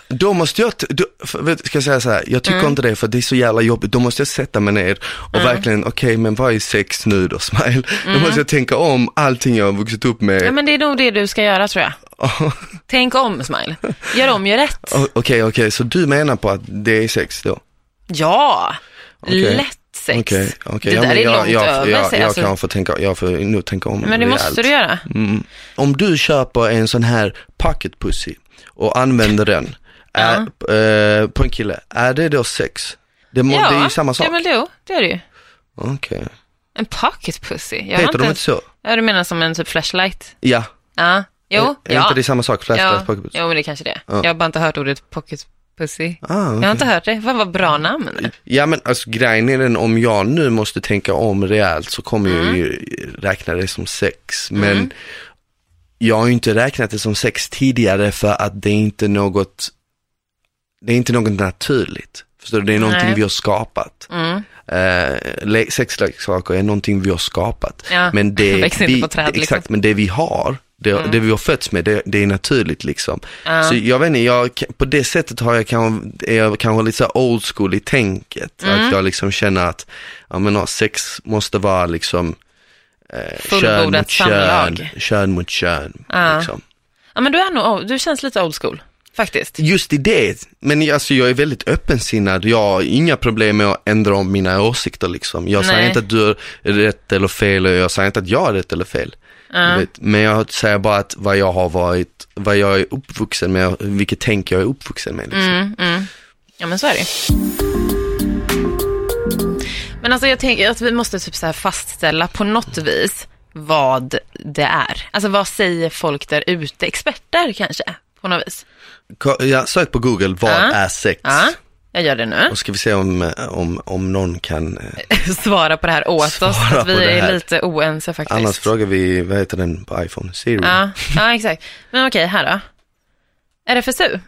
A: då måste jag, t- då, för, vet- ska jag säga så här, jag
B: Mm.
A: tycker inte det för det är så jävla jobbigt, då måste jag sätta mig ner och verkligen, okej men vad är sex nu då Smile?
B: Mm.
A: Då måste jag tänka om allting jag har vuxit upp med.
B: Ja, men det är nog det du ska göra tror jag. Tänk om, Smile. Gör om, gör rätt.
A: O- Okej, okej, så du menar på att det är sex då?
B: Ja,
A: Okej.
B: lätt sex.
A: Okej, okej.
B: Det
A: Ja,
B: där
A: men
B: är
A: jag,
B: långt
A: jag,
B: över
A: jag,
B: sig.
A: Jag,
B: alltså.
A: kan få tänka, jag får nog tänka om
B: Men det måste
A: rejält.
B: du göra.
A: Om du köper en sån här pocket pussy och använder den är, eh, på en kille, är det då sex? Det, må, det är ju samma sak.
B: Ja, men jo, det är det ju.
A: Okej,
B: En pocket pussy. Jag har
A: heter de
B: ens-
A: inte så?
B: Ja, du menar som en typ flashlight?
A: Ja,
B: Ja, jo,
A: är
B: ja.
A: inte det samma sak? Flashlight
B: ja.
A: pocket pussy?
B: Jo, men det kanske det är. Jag har bara inte hört ordet pocket pussy.
A: Ah,
B: Jag har
A: okej.
B: inte hört det. Vad var bra namn.
A: Ja men alltså grejen är den om jag nu måste tänka om rejält så kommer
B: Mm.
A: jag ju räkna det som sex. Men jag har ju inte räknat det som sex tidigare för att det är inte något, det är inte något naturligt. Förstår du? Det är någonting
B: Nej.
A: vi har skapat.
B: Mm.
A: Eh, le- Sexleksaker är någonting vi har skapat.
B: Ja,
A: Men det,
B: växer inte
A: vi,
B: på träd,
A: exakt,
B: liksom. Mm.
A: men det vi har, det, det vi har fötts med, det, det är naturligt liksom.
B: Ja.
A: Så jag vet inte, jag, på det sättet har jag kanske, är jag kanske lite så här old school i tänket.
B: Mm.
A: Att jag liksom känner att, ja men ja, sex måste vara liksom eh, kön
B: Fullbordat
A: mot kön,
B: samlag.
A: kön mot kön.
B: Ja.
A: Liksom.
B: Ja, men du är nog, du känns lite old school, faktiskt.
A: Just i det, men jag- alltså, jag är väldigt öppensinnad. Jag har inga problem med att ändra om mina åsikter liksom. Jag säger
B: Nej.
A: inte att du är rätt eller fel och jag säger inte att jag är rätt eller fel. Du vet, Men jag säger bara att vad jag har varit, vad jag är uppvuxen med, vilket tänk jag är uppvuxen med. Liksom.
B: Mm, mm. Ja, men så är det ju. Men alltså jag tänker att vi måste typ så här fastställa på något vis vad det är. Alltså vad säger folk där ute? Experter kanske, på något vis.
A: Ko- Ja, sök på Google, vad
B: Ja.
A: är sex?
B: Ja, jag gör det nu.
A: Och ska vi se om, eh, om, om någon kan, eh,
B: Svara på det här åt
A: Svara
B: oss, att
A: på
B: vi
A: det här.
B: är lite oense faktiskt.
A: annars frågar vi, vad heter den på iPhone? Siri?
B: ja, ja, exakt. Men okej, här då. RFSU,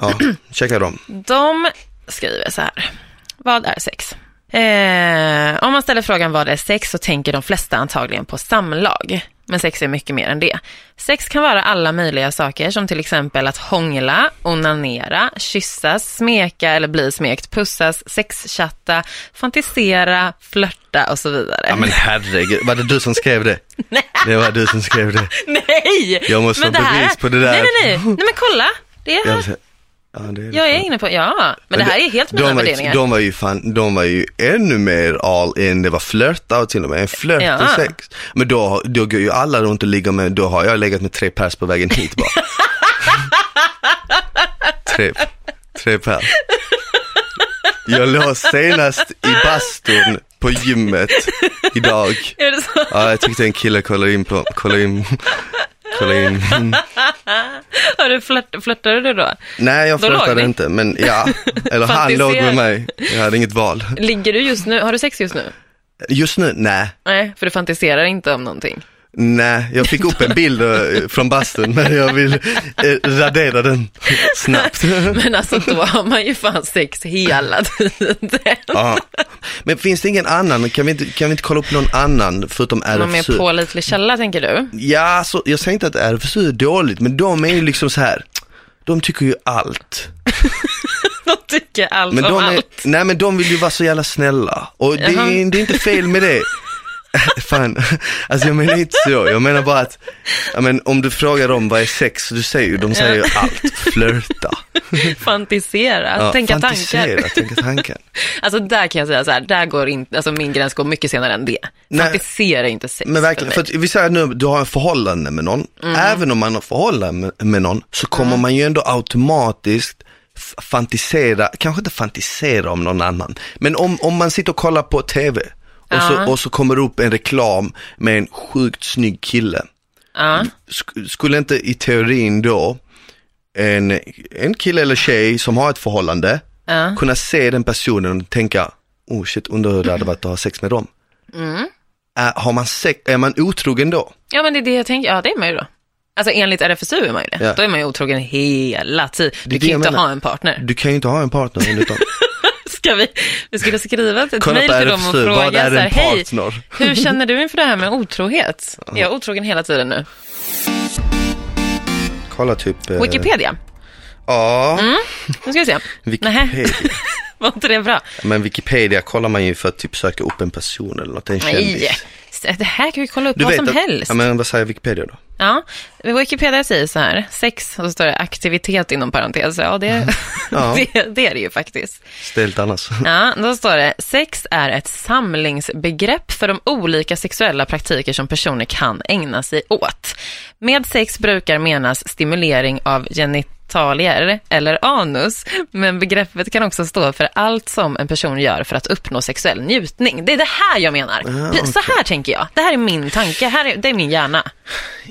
A: Ja, checka dem.
B: de skriver så här. Vad är sex? Eh, om man ställer frågan vad är sex så tänker de flesta antagligen på samlag. Men sex är mycket mer än det. Sex kan vara alla möjliga saker som till exempel att hångla, onanera, kyssas, smeka eller bli smekt, pussas, sexchatta, fantisera, flörta och så vidare.
A: Ja men herregud, var det du som skrev det? Det var du som skrev det.
B: Nej!
A: Jag måste
B: Men
A: ha
B: det här-
A: bevis på det där.
B: Nej, nej, nej. nej men kolla. Det är
A: Jag,
B: här.
A: vill säga- ja, det är
B: Jag är inne på, Ah. ja. Men det här är helt mina
A: de var, ju-
B: värderingar.
A: de var ju fan, de var ju ännu mer all in, det var flörta och till och med en flört
B: Ja.
A: och sex. Men då, då går ju alla runt och ligger med, då har jag legat med tre pers på vägen hit bara. tre, tre pers. Jag låg senast i bastun på gymmet idag.
B: Är det så?
A: Ja, jag tyckte en kille kollade in på, kollade in, kollade in.
B: Har du flört, flörtade du då?
A: Nej, jag
B: Då låg
A: flörtade
B: ni.
A: inte, men ja, eller han
B: Fantiserar.
A: låg med mig. Jag hade inget val.
B: Ligger du just nu, har du sex just nu?
A: Just nu, nej.
B: Nej, för du fantiserar inte om någonting.
A: Nej, jag fick upp en bild eh, från bastun men jag vill eh, radera den snabbt.
B: Men alltså då har man ju fan sex hela tiden.
A: ja. Men finns det ingen annan, kan vi inte, kan vi inte kolla upp någon annan förutom
B: Någon mer
A: RFSU?
B: pålitlig källa tänker du?
A: Ja, så, jag säger inte att RFSU är dåligt, men de är ju liksom så här, de tycker ju allt.
B: De tycker allt
A: Men
B: om
A: de, är,
B: allt.
A: nej, men de vill ju vara så jävla snälla och det
B: Jaha.
A: är, det är inte fel med det. Fan, alltså jag menar inte så. Jag menar bara att, ja, men om du frågar dem vad är sex, du säger ju, de säger ju allt. Flörta.
B: Fantisera,
A: Ja,
B: tänka
A: fantisera,
B: tankar.
A: Tänka tankar.
B: Alltså där kan jag säga så här, där går inte, alltså min gräns går mycket senare än det.
A: Nej.
B: Fantisera är inte sex
A: Men verkligen,
B: för
A: för
B: mig.
A: att vi säger nu, du har en förhållande med någon. Även om man har förhållande med- med någon så kommer man ju ändå automatiskt f- fantisera, kanske inte fantisera om någon annan, men om, om man sitter och kollar på TV och,
B: Ja.
A: så, och så kommer det upp en reklam med en sjukt snygg kille.
B: Ja,
A: Sk- skulle inte i teorin då en, en kille eller tjej som har ett förhållande
B: ja.
A: kunna se den personen och tänka, oh shit, undrar hur det hade varit att ha sex med dem.
B: Mm.
A: Äh, har man sex, är man otrogen då?
B: ja, men det är det jag tänker, ja det är man ju då. Alltså enligt RFSU är man ju det.
A: Ja.
B: Då är man ju otrogen hela tiden. Du
A: det
B: kan ju
A: jag
B: inte
A: menar.
B: ha en partner.
A: Du kan ju inte ha en partner enligt dem.
B: Ska vi, vi skulle skriva ett
A: Kolla
B: mejl
A: på
B: till dem och
A: RFSU,
B: fråga
A: vad
B: så
A: är
B: här,
A: en
B: hej,
A: partner?
B: hur känner du inför det här med otrohet? Är jag otrogen hela tiden nu?
A: Eh. Kolla typ... eh,
B: Wikipedia, Mm,
A: Ja,
B: nu ska vi se.
A: Wikipedia.
B: Var inte det bra?
A: Men Wikipedia kollar man ju för att typ söka upp en person eller något, en kändis.
B: Nej, det här kan vi kolla upp vad som
A: att,
B: helst.
A: Ja, men vad säger Wikipedia då?
B: Ja, Wikipedia säger så här, sex, och så står det aktivitet inom parentes. Ja, det,
A: Ja.
B: det, det är det ju faktiskt.
A: Stelt annars.
B: Ja, då står det, sex är ett samlingsbegrepp för de olika sexuella praktiker som personer kan ägna sig åt. Med sex brukar menas stimulering av genitalier eller anus, men begreppet kan också stå för allt som en person gör för att uppnå sexuell njutning. Det är det här jag menar. Så här tänker jag. Det här är min tanke, här är, det är min hjärna.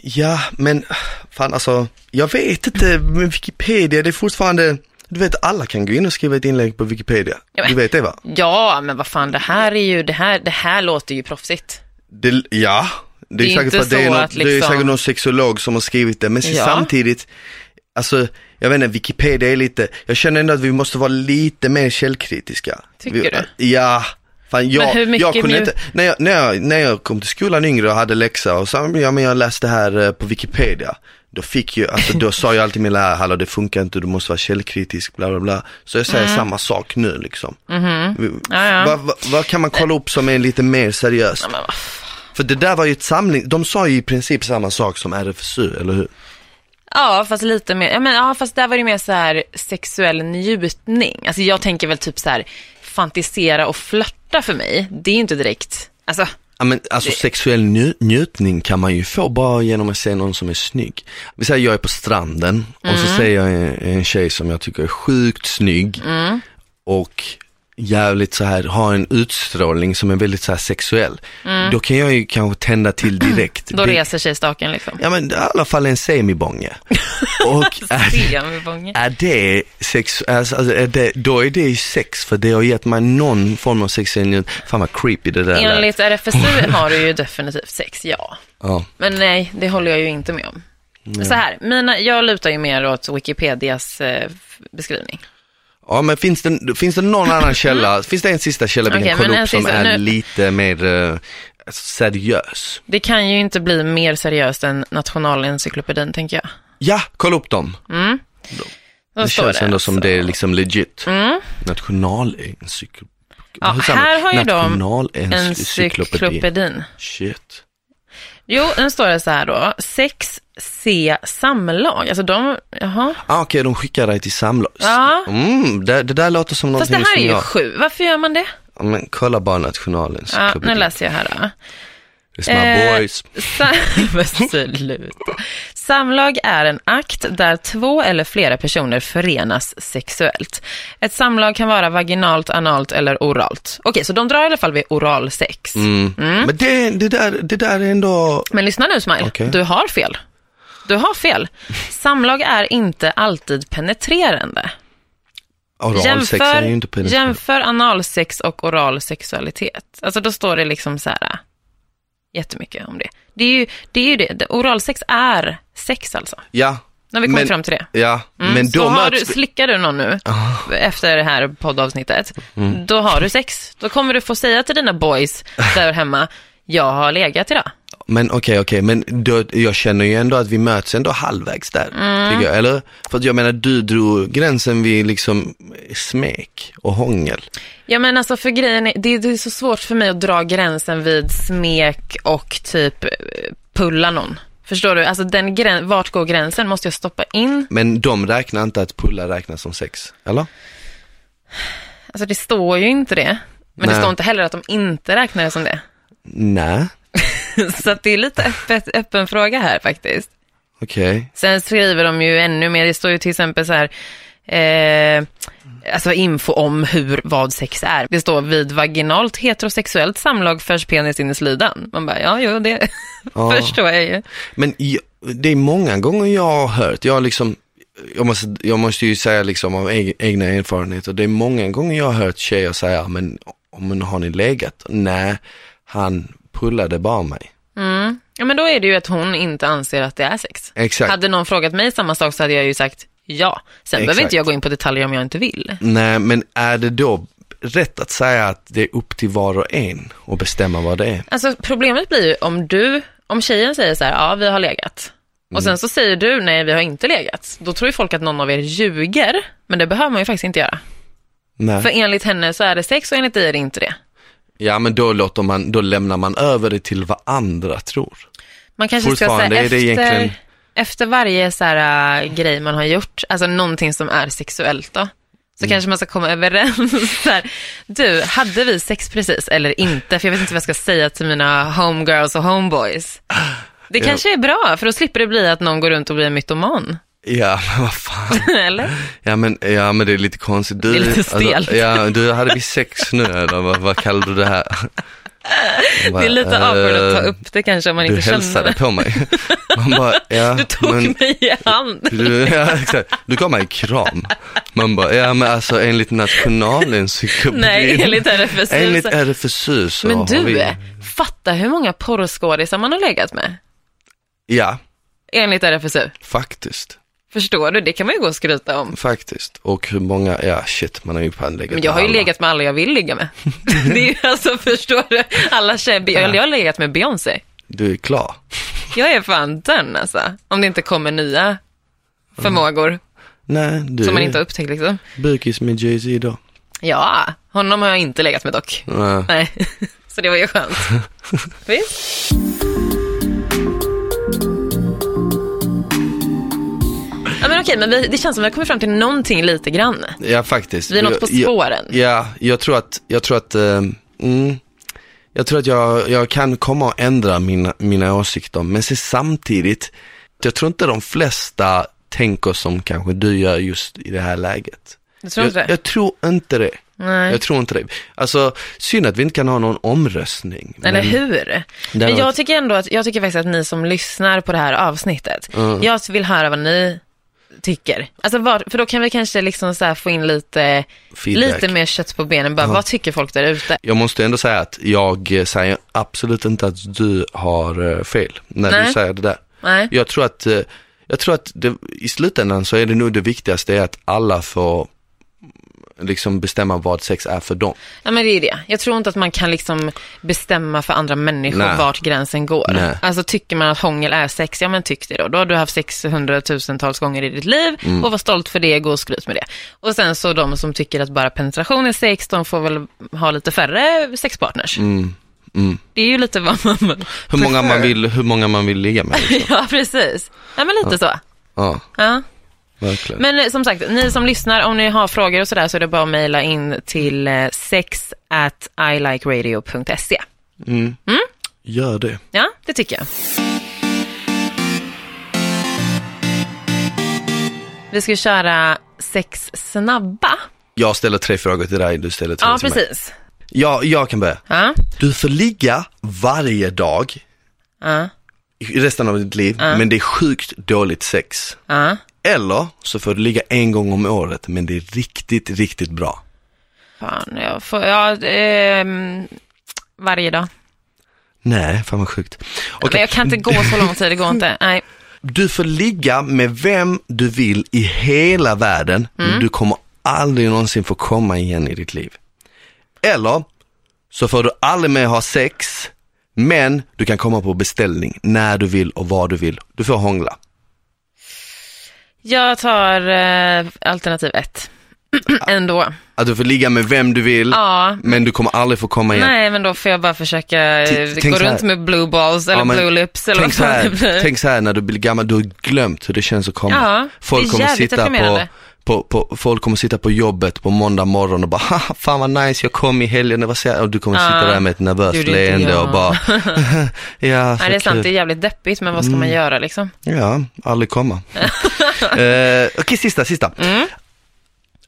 A: Ja, men fan alltså, jag vet inte, men Wikipedia det är fortfarande, du vet alla kan gå in och skriva ett inlägg på Wikipedia.
B: Ja, men-
A: Du vet det va?
B: Ja, men vad fan, det här är ju, det här, det här låter ju proffsigt.
A: Det, ja, det är,
B: Det är
A: säkert
B: inte
A: för att det
B: så
A: är, någon,
B: att
A: det är
B: liksom-
A: säkert någon sexolog som har skrivit det, men så
B: Ja.
A: samtidigt, alltså jag vet inte, Wikipedia är lite, jag känner ändå att vi måste vara lite mer källkritiska.
B: Tycker
A: vi, Ja. Fan, jag,
B: hur mycket
A: jag kunde
B: mjuk-
A: inte, när jag, när, jag, när jag kom till skolan yngre och hade läxa och sa, ja men jag läste det här eh, på Wikipedia. Då fick ju, alltså då sa jag alltid till min lärare, hallå det funkar inte, du måste vara källkritisk, bla bla bla. Så jag säger samma sak nu liksom. Vi-
B: Mm. Mm-hmm. Ja, ja.
A: Vad vad- vad kan man kolla upp som är lite mer seriöst?
B: Ja, men vad
A: För det där var ju ett samling, de sa ju i princip samma sak som RFSU, eller hur?
B: Ja, fast lite mer, ja, men, ja, fast där var det mer så här sexuell njutning. Alltså jag tänker väl typ så här fantisera och flörta för mig. Det är ju inte direkt, alltså,
A: Ja men alltså sexuell nju- njutning kan man ju få bara genom att se någon som är snygg. Vi säger jag är på stranden och
B: Mm.
A: så ser jag en, en tjej som jag tycker är sjukt snygg
B: Mm.
A: och jävligt så här har en utstrålning som är väldigt så här sexuell. Då kan jag ju kanske tända till direkt.
B: Mm. då
A: Det-
B: reser sig staken liksom.
A: Ja men i alla fall en semibonge. och är,
B: Se om vi fångar.
A: Är det sex, alltså, alltså, är det, då är det ju sex för det har gett mig någon form av sexuell njut. Fan vad creepy det där lät.
B: Enligt RFSU har du ju definitivt sex, ja.
A: ja.
B: Men nej, det håller jag ju inte med om. Så här, mina, jag lutar ju mer åt Wikipedias eh, f- beskrivning.
A: ja men finns det, finns det någon annan källa, finns det en sista källa vi
B: Okej,
A: kan kolla
B: men
A: upp
B: en
A: som
B: sista-
A: är
B: nu-
A: lite mer eh, seriös?
B: Det kan ju inte bli mer seriöst än Nationalencyklopedin, tänker jag.
A: Ja, kolla upp dem.
B: Då
A: Det
B: står
A: känns ändå som
B: alltså.
A: det är liksom legit. eh, Nationalencyklopedi.
B: Ja, här har ju de
A: Nationalencyklopedi.
B: Encyklopedin.
A: Shit.
B: Jo, nu står det så här då. 6C samlag. Alltså de, jaha.
A: Ah, Okej, de skickar dig till samlag.
B: Ja.
A: Mm, det, det där låter som
B: Fast
A: någonting
B: det här är
A: som
B: ju
A: jag...
B: sju. Varför gör man det?
A: Ja, men kolla bara
B: Ja,
A: nationalencyklopedin.
B: nu läser jag här då.
A: It's my
B: Eh,
A: boys.
B: Sam- Men sluta. Samlag är en akt där två eller flera personer förenas sexuellt. Ett samlag kan vara vaginalt, analt eller oralt. Okej, så de drar i alla fall vid oralsex.
A: Mm.
B: mm.
A: Men det, det, där, det där är ändå...
B: Men lyssna nu Smile,
A: Okej.
B: du har fel. Du har fel. Samlag är inte alltid penetrerande.
A: Oralsex är ju inte penetrerande.
B: jämför analsex och oral sexualitet. Alltså då står det liksom så här äh, jättemycket om det. Det är ju det. Är ju det. Det- Oralsex är sex alltså.
A: Ja,
B: När vi kommer
A: Men-
B: fram till det.
A: ja. men
B: Mm, Så
A: då Ah.
B: har
A: möts
B: du, slickar du någon nu efter det här poddavsnittet,
A: Mm.
B: då har du sex. Då kommer du få säga till dina boys där hemma, jag har legat idag.
A: Men okej, okej, men då, jag känner ju ändå att vi
B: Mm.
A: möts ändå halvvägs där. Tycker jag, eller? För att jag menar, du drog gränsen vid liksom smek och hångel?
B: Ja men alltså för grejen är, det, det är så svårt för mig att dra gränsen vid smek och typ eh, pulla någon. Förstår du? Alltså den grän, vart går gränsen? Måste jag stoppa in?
A: Men de räknar inte att pulla räknas som sex, eller?
B: Alltså det står ju inte det.
A: Nej.
B: Men det står inte heller att de inte räknar det som det.
A: Nej,
B: Så att det är lite öppet, öppen fråga här faktiskt.
A: okej.
B: Sen skriver de ju ännu mer, det står ju till exempel så här, eh, alltså info om hur, vad sex är. Det står vid vaginalt heterosexuellt samlag förs penis in i slidan. Man bara, ja, jo, det
A: Ja.
B: förstår jag ju.
A: Men jag, det är många gånger jag har hört, jag har liksom, jag måste, jag måste ju säga liksom av eg, egna erfarenheter, det är många gånger jag har hört tjejer säga, men, men har ni legat? Nej, han pullade bara mig.
B: Mm. Ja, men då är det ju att hon inte anser att det är sex.
A: Exakt.
B: Hade någon frågat mig samma sak så hade jag ju sagt ja. Sen behöver
A: Exakt.
B: inte jag gå in på detaljer om jag inte vill.
A: Nej, men är det då rätt att säga att det är upp till var och en att bestämma vad det är?
B: Alltså problemet blir ju om du, om tjejen säger så här, ja vi har legat. Och
A: Mm.
B: sen så säger du, nej vi har inte legat. Då tror ju folk att någon av er ljuger, men det behöver man ju faktiskt inte göra.
A: Nej.
B: För enligt henne så är det sex och enligt dig är det inte det.
A: Ja, men då, låter man, då lämnar man över det till vad andra tror.
B: Man kanske ska säga
A: Fortfarande är
B: efter,
A: det egentligen-
B: efter varje så här, äh, grej man har gjort, alltså någonting som är sexuellt då,
A: Mm.
B: så kanske man ska komma överens. Så här. Du, hade vi sex precis eller inte? För jag vet inte vad jag ska säga till mina homegirls och homeboys. Det
A: Ja.
B: kanske är bra, för då slipper det bli att någon går runt och blir en mytoman.
A: Ja, men vad fan.
B: eller?
A: Ja men, ja men det är lite konstigt. Du, alltså,
B: Det är lite stelt.
A: ja, du hade vi sex nu eller vad, vad kallar du det här? Jag bara,
B: Det är lite awkward att ta
A: eh,
B: upp det kanske om man
A: Du
B: inte
A: hälsade
B: känner.
A: på mig. Man bara, ja,
B: Du tog
A: men,
B: mig i hand.
A: du, ja, exakt. du gav mig en kram. Man bara, ja men alltså enligt nationalencyklopedin.
B: Nej, enligt RFSU.
A: enligt
B: så-
A: RFSU så
B: Men
A: har
B: du,
A: vi,
B: fatta hur många porrskådisar man har legat med,
A: Ja,
B: enligt RFSU.
A: faktiskt.
B: Förstår du? Det kan man ju gå och skryta om.
A: Faktiskt. Och hur många, ja shit man har ju fan legat
B: Men jag har ju
A: med alla.
B: legat med alla jag vill ligga med. Det är ju alltså, förstår du? Alla tjejer, jag har legat med Beyoncé.
A: Du är klar.
B: Jag är fan done alltså. Om det inte kommer nya förmågor
A: Nej, du
B: som man
A: är
B: inte har upptäckt liksom.
A: bukis med Jay-Z då.
B: Ja, honom har jag inte legat med dock.
A: Ja.
B: Nej, så det var ju skönt. Visst? Ja, men okej, men vi, det känns som att vi har kommit fram till någonting lite grann.
A: Ja, faktiskt.
B: Vi är något på
A: Jag-
B: spåren.
A: Ja, jag tror att, jag tror att, eh, mm, jag tror att jag, jag kan komma att ändra mina, mina åsikter, men se, samtidigt, jag tror inte de flesta tänker som kanske du gör just i det här läget.
B: Du tror inte
A: jag,
B: det?
A: jag tror inte det.
B: Nej.
A: Jag tror inte det. Alltså, synd att vi inte kan ha någon omröstning.
B: Eller
A: men-
B: hur?
A: hade
B: Men jag
A: varit-
B: tycker ändå att, jag tycker faktiskt att ni som lyssnar på det här avsnittet, jag vill höra vad ni tycker. Alltså var, för då kan vi kanske liksom så här få in lite,
A: Feedback.
B: lite mer kött på benen. Bara, Vad tycker folk där ute?
A: Jag måste ändå säga att jag eh, säger absolut inte att du har eh, fel när du
B: Nej.
A: säger det där.
B: Nej.
A: Jag tror att, eh, jag tror att det, i slutändan så är det nog det viktigaste är att alla får liksom bestämma vad sex är för dem.
B: Ja men det är det. Jag tror inte att man kan liksom bestämma för andra människor
A: Nej.
B: vart gränsen går.
A: Nej.
B: Alltså tycker man att hångel är sex, ja men tyck det då. Då har du haft sex hundratusentals gånger i ditt liv
A: Mm.
B: och var stolt för det, gå och skryt med det. Och sen så de som tycker att bara penetration är sex, de får väl ha lite färre sexpartners.
A: Mm.
B: Det är ju lite vad man vill.
A: Hur många man vill, hur många man vill ligga med. Liksom.
B: Ja precis. Ja men lite så.
A: Ja,
B: Ja.
A: verkligen.
B: Men eh, som sagt, ni som lyssnar, om ni har frågor och sådär så är det bara att mejla in till eh, sex at ilikeradio.se.
A: Gör det.
B: Ja, det tycker jag. Vi ska köra sex snabba.
A: Jag ställer tre frågor till dig, du ställer tre
B: Ja,
A: till mig.
B: precis.
A: Ja, jag kan börja.
B: Ja.
A: Du får ligga varje dag
B: Ja.
A: i resten av ditt liv, men det är sjukt dåligt sex.
B: Ja.
A: Eller så får du ligga en gång om året, men det är riktigt, riktigt bra.
B: Fan, jag får... Ja, ehm, varje dag.
A: Nej, fan vad sjukt.
B: Men
A: Okej.
B: jag kan inte gå så lång tid, det går inte. Nej.
A: Du får ligga med vem du vill i hela världen, men du kommer aldrig någonsin få komma igen i ditt liv. Eller så får du aldrig mer ha sex, men du kan komma på beställning när du vill och vad du vill. Du får hångla.
B: Jag tar eh, alternativ ett. ändå.
A: Att du får ligga med vem du vill,
B: Ja.
A: men du kommer aldrig få komma igen.
B: Nej, men då får jag bara försöka eh,
A: T- tänk
B: gå
A: så här.
B: runt med blue balls eller
A: Ja, men
B: blue lips eller
A: Tänk
B: vad
A: så,
B: fan
A: här,
B: det blir.
A: tänk så här när du blir gammal, du har glömt hur det känns att komma.
B: Ja, det
A: folk,
B: är
A: kommer
B: jävligt
A: sitta på,
B: deprimerande.
A: på, på, folk kommer sitta på jobbet på måndag morgon och bara, "Haha, fan vad nice, jag kom i helgen, det var så jävla-" och du kommer sitta
B: Ja.
A: där med ett nervöst
B: Gjorde inte
A: leende
B: jag.
A: och bara, ja, så
B: Nej, det är sant, det är
A: kul.
B: jävligt deppigt, men vad ska
A: Mm.
B: man göra liksom?
A: Ja, aldrig komma. eh, Okej, sista, sista.
B: Mm.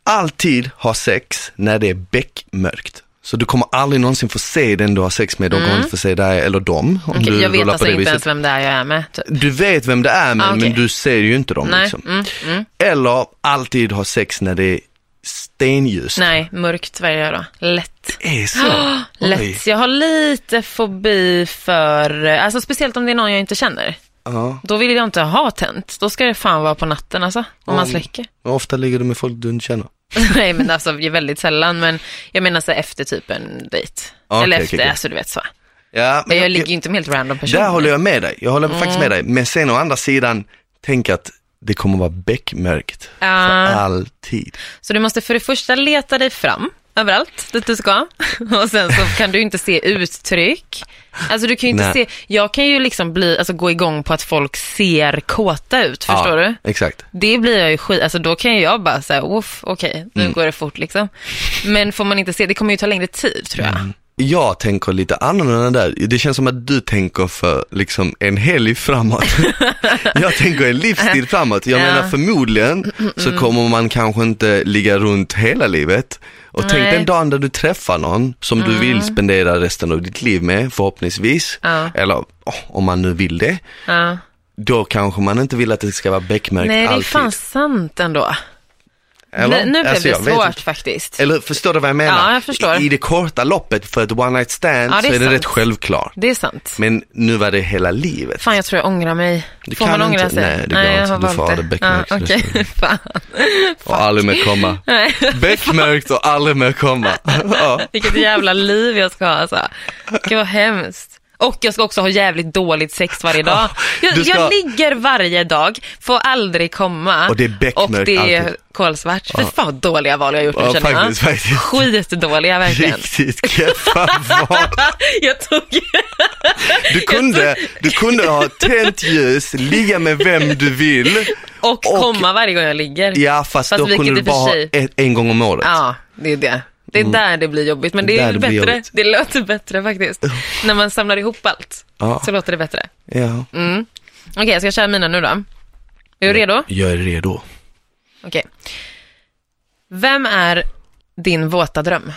A: Alltid ha sex när det är beckmörkt. Så du kommer aldrig någonsin få se den du har sex med, de kommer inte få se dig eller dem. Om
B: Mm. Okej,
A: du
B: jag vet
A: rullar på
B: alltså
A: det
B: inte
A: viset.
B: ens vem det är jag är med. Typ.
A: Du vet vem det är men,
B: Ah, okej.
A: men du ser ju inte dem.
B: Nej,
A: Liksom.
B: mm, mm.
A: Eller alltid ha sex när det är stenljust.
B: Nej, mörkt varje dag. Lätt.
A: Det är så? Oj.
B: Lätt. Jag har lite fobi för, alltså speciellt om det är någon jag inte känner.
A: Ja.
B: Då vill jag inte ha tänt. Då ska det fan vara på natten alltså, om man släcker.
A: Hur ofta ligger du med folk du inte känner?
B: Nej men alltså det är väldigt sällan, men jag menar så här efter typ en dejt.
A: Okej,
B: Eller
A: okej,
B: efter,
A: okej.
B: alltså du vet så.
A: Ja,
B: Men jag, ligger Mm. ju inte med helt random personer.
A: Där håller jag med dig. Jag håller faktiskt med dig. Men sen å andra sidan, tänk att det kommer vara beckmörkt.
B: Ja.
A: För alltid.
B: Så du måste för det första leta dig fram överallt dit du ska. Och sen så kan du inte se uttryck. Alltså du kan ju inte
A: Nej.
B: se, jag kan ju liksom bli, alltså gå igång på att folk ser kåta ut, förstår
A: ja,
B: du?
A: Exakt.
B: Det blir jag ju skit, alltså då kan ju jag bara säga, oof, okej, nu
A: Mm.
B: går det fort liksom. Men får man inte se, det kommer ju ta längre tid tror jag.
A: Mm. Jag tänker lite annorlunda där. Det känns som att du tänker för liksom en helg framåt. jag tänker en livstid framåt. Jag
B: Ja.
A: menar förmodligen så kommer man kanske inte ligga runt hela livet. Och tänk
B: Nej. Mm.
A: den dagen där du träffar någon som du vill spendera resten av ditt liv med förhoppningsvis.
B: Ja.
A: Eller åh, om man nu vill det.
B: Ja.
A: Då kanske man inte vill att det ska vara beckmärkt
B: Nej, det är
A: alltid.
B: fan sant ändå.
A: Eller?
B: Nu, nu blev
A: Alltså, jag
B: det
A: vet
B: svårt
A: inte.
B: faktiskt.
A: Eller förstår du vad jag menar?
B: Ja, jag förstår.
A: I det korta loppet för ett one night stand
B: Ja,
A: så
B: det är
A: är det
B: sant.
A: rätt självklart.
B: Det är sant.
A: Men nu var det hela livet.
B: Fan, jag tror jag ångrar mig.
A: Du
B: får
A: kan
B: man ångra
A: inte-
B: sig?
A: nej, det går inte.
B: jag har
A: Du får
B: valt
A: ha det beckmärkt.
B: Ja, Okej, fan.
A: och aldrig mer komma.
B: Nej,
A: Beckmärkt och aldrig mer komma. ja.
B: vilket jävla liv jag ska ha alltså. Gud vad hemskt. Och jag ska också ha jävligt dåligt sex varje dag. Jag,
A: Du ska-
B: jag ligger varje dag, får aldrig komma.
A: Och det är beckmörkt
B: Och det är
A: alltid.
B: kolsvart. Fy fan vad dåliga val jag har gjort
A: Ja,
B: nu känner jag.
A: faktiskt, faktiskt.
B: Skitdåliga verkligen.
A: Riktigt keffa val.
B: jag tog...
A: Du kunde, du kunde ha tänt ljus, ligga med vem du vill.
B: och
A: Och-
B: komma varje gång jag ligger.
A: Ja fast,
B: Fast
A: då
B: vilket
A: kunde du
B: i och för
A: bara ha
B: sig-
A: ett, en gång om året.
B: Ja, det är det. Det är där det blir jobbigt, men det
A: Där
B: är
A: Mm. det blir
B: bättre.
A: jobbigt.
B: Det låter bättre faktiskt. När man samlar ihop allt
A: Ja.
B: så låter det bättre.
A: Ja.
B: Okej, jag ska köra mina nu då. Är du Mm. redo?
A: Jag är redo.
B: Okej. Vem är din våta dröm?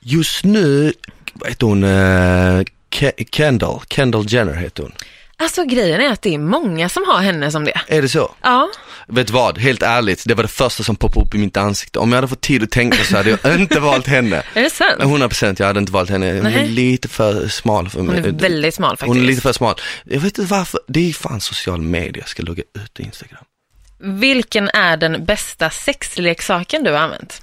A: Just nu, vad heter hon, eh, Ke- Kendall, Kendall Jenner heter hon.
B: Alltså grejen är att det är många som har henne som det.
A: Är det så?
B: Ja,
A: Vet du vad, helt ärligt, det var det första som poppade upp i mitt ansikte. Om jag hade fått tid att tänka så hade jag inte valt henne.
B: är det sant?
A: 100 procent, jag hade inte valt henne. Hon är
B: Nej.
A: lite för smal för
B: Hon
A: mig. Eh,
B: är väldigt smal faktiskt.
A: Hon är lite för smal. Jag vet inte varför, det är fan social media, jag ska logga ut Instagram.
B: Vilken är den bästa sexleksaken du har använt?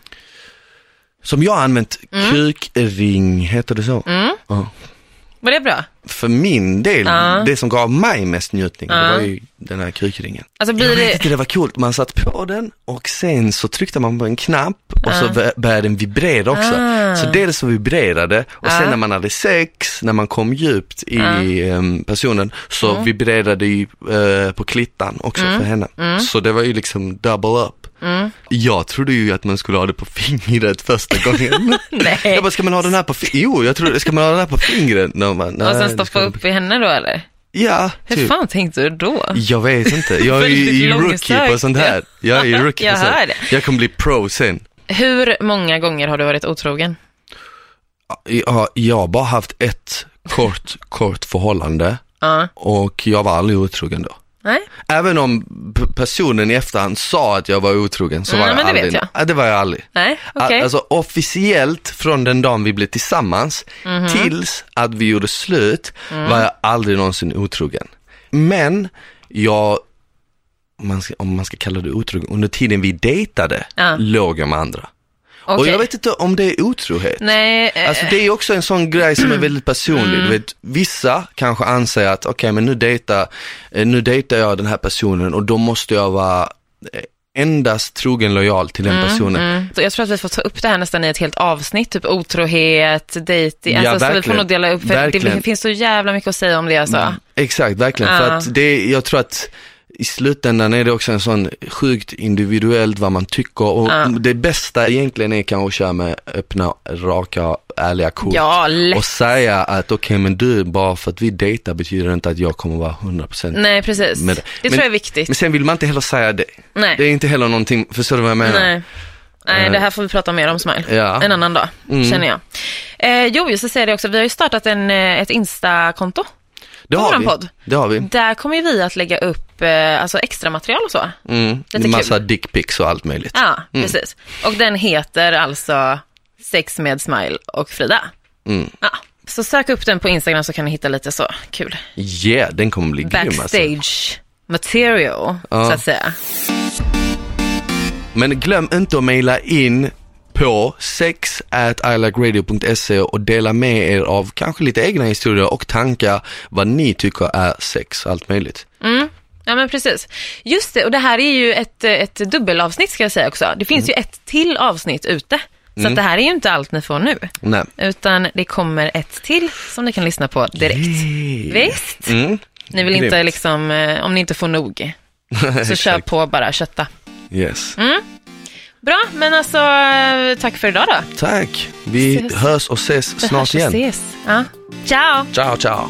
A: Som jag har använt,
B: Mm.
A: kukring, heter det så? Ja.
B: Var det bra?
A: För min del,
B: Ja.
A: det som gav mig mest njutning, det
B: Ja.
A: var ju den här kukringen.
B: Alltså
A: Jag
B: blir det...
A: tyckte det var coolt, man satt på den och sen så tryckte man på en knapp och så bör- började den vibrera också.
B: Ah.
A: Så dels så vibrerade och sen när man hade sex, när man kom djupt i
B: Ah.
A: em, personen så
B: Mm.
A: vibrerade ju eh, på klittan också för henne.
B: Mm.
A: Så det var ju liksom double up. Jag trodde ju att man skulle ha det på fingret första gången.
B: Nej.
A: jag bara, ska man ha den här på fingret? Jo, jag trodde, ska man ha den här på fingret? No, man,
B: Och
A: nej, Typ.
B: sen
A: det ska
B: stoppa
A: man-
B: upp i henne då eller?
A: Ja,
B: Hur fan tänkte du då?
A: jag vet inte, jag är ju
B: Väldigt
A: i rookie
B: långsökt.
A: på sånt här. Jag är ju rookie
B: Jag
A: på sånt.
B: hör det.
A: Jag kommer bli pro sen.
B: Hur många gånger har du varit otrogen?
A: Jag, jag har bara haft ett kort, kort förhållande
B: Ja.
A: och jag var aldrig otrogen då.
B: Nej?
A: Även om p- personen i efterhand sa att jag var otrogen så
B: Mm,
A: var jag
B: men det vet
A: aldrig.
B: jag.
A: Ja, det var jag aldrig.
B: Nej, okej.
A: A- Alltså officiellt från den dagen vi blev tillsammans
B: Mhm.
A: tills att vi gjorde slut
B: Mm.
A: var jag aldrig någonsin otrogen. Men jag, om man ska, om man ska kalla det otrogen, under tiden vi dejtade
B: Ja.
A: låg jag med andra. Och
B: Okej.
A: jag vet inte om det är otrohet.
B: Nej, Mm. eh,
A: Alltså det är också en sån grej som är väldigt personlig. Du vet, vissa kanske anser att okej men nu dejtar, eh, nu dejtar jag den här personen och då måste jag vara eh, endast trogen lojal till den personen.
B: Mm. Så jag tror att vi får ta upp det här nästan i ett helt avsnitt, typ otrohet, dejting,
A: Ja,
B: alltså, så vi får
A: verkligen.
B: nog dela upp, för det
A: Verkligen.
B: finns så jävla mycket att säga om det alltså.
A: Exakt, verkligen. För
B: Ja.
A: att det, jag tror att i slutändan är det också en sån sjukt individuellt vad man tycker och
B: Ja.
A: det bästa egentligen är kanske att köra med öppna, raka, ärliga kort.
B: Ja, lätt.
A: och säga att okej men du, bara för att vi dejtar betyder inte att jag kommer vara 100%
B: Nej, precis.
A: Men-
B: det
A: men-
B: tror jag är viktigt.
A: Men sen vill man inte heller säga det.
B: Nej.
A: Det är inte heller någonting, förstår du vad jag menar?
B: Nej. Nej, det här får vi prata mer om Smile.
A: Ja. Mm.
B: En annan dag, känner jag. Eh, jo, jag ska säga det också, vi har ju startat en, eh, ett Insta-konto.
A: Det
B: På
A: har
B: våran
A: vi.
B: podd.
A: Det har vi.
B: Där kommer ju vi att lägga upp eh, alltså extra material och så.
A: Mm.
B: Lite
A: Massa dickpics och allt möjligt.
B: Ja, precis. Och den heter alltså Sex med Smile och Frida.
A: Mm.
B: Ja. Så sök upp den på Instagram så kan ni hitta lite så kul
A: Yeah, den kommer bli grym alltså.
B: backstage material,
A: Ja.
B: så att säga.
A: Men glöm inte att mejla in på sex at ilikradio.se och dela med er av kanske lite egna historier och tankar vad ni tycker är sex och allt möjligt.
B: Ja men precis. Just det, och det här är ju ett, eh, ett dubbelavsnitt ska jag säga också. Det
A: Mm.
B: finns ju ett till avsnitt ute. Så att det här är ju inte allt ni får nu.
A: Nej.
B: Utan det kommer ett till som ni kan lyssna på direkt. Visst?
A: Mm.
B: Ni vill inte
A: Grymt.
B: liksom, eh, om ni inte får nog, så kör
A: Exakt.
B: på bara, kötta.
A: Yes.
B: Mm. Bra, men alltså eh, tack för idag då.
A: Tack. Vi
B: Ses.
A: hörs och ses
B: Vi
A: snart
B: hörs och
A: igen.
B: Ses. Ja. Ciao!
A: Ciao, ciao.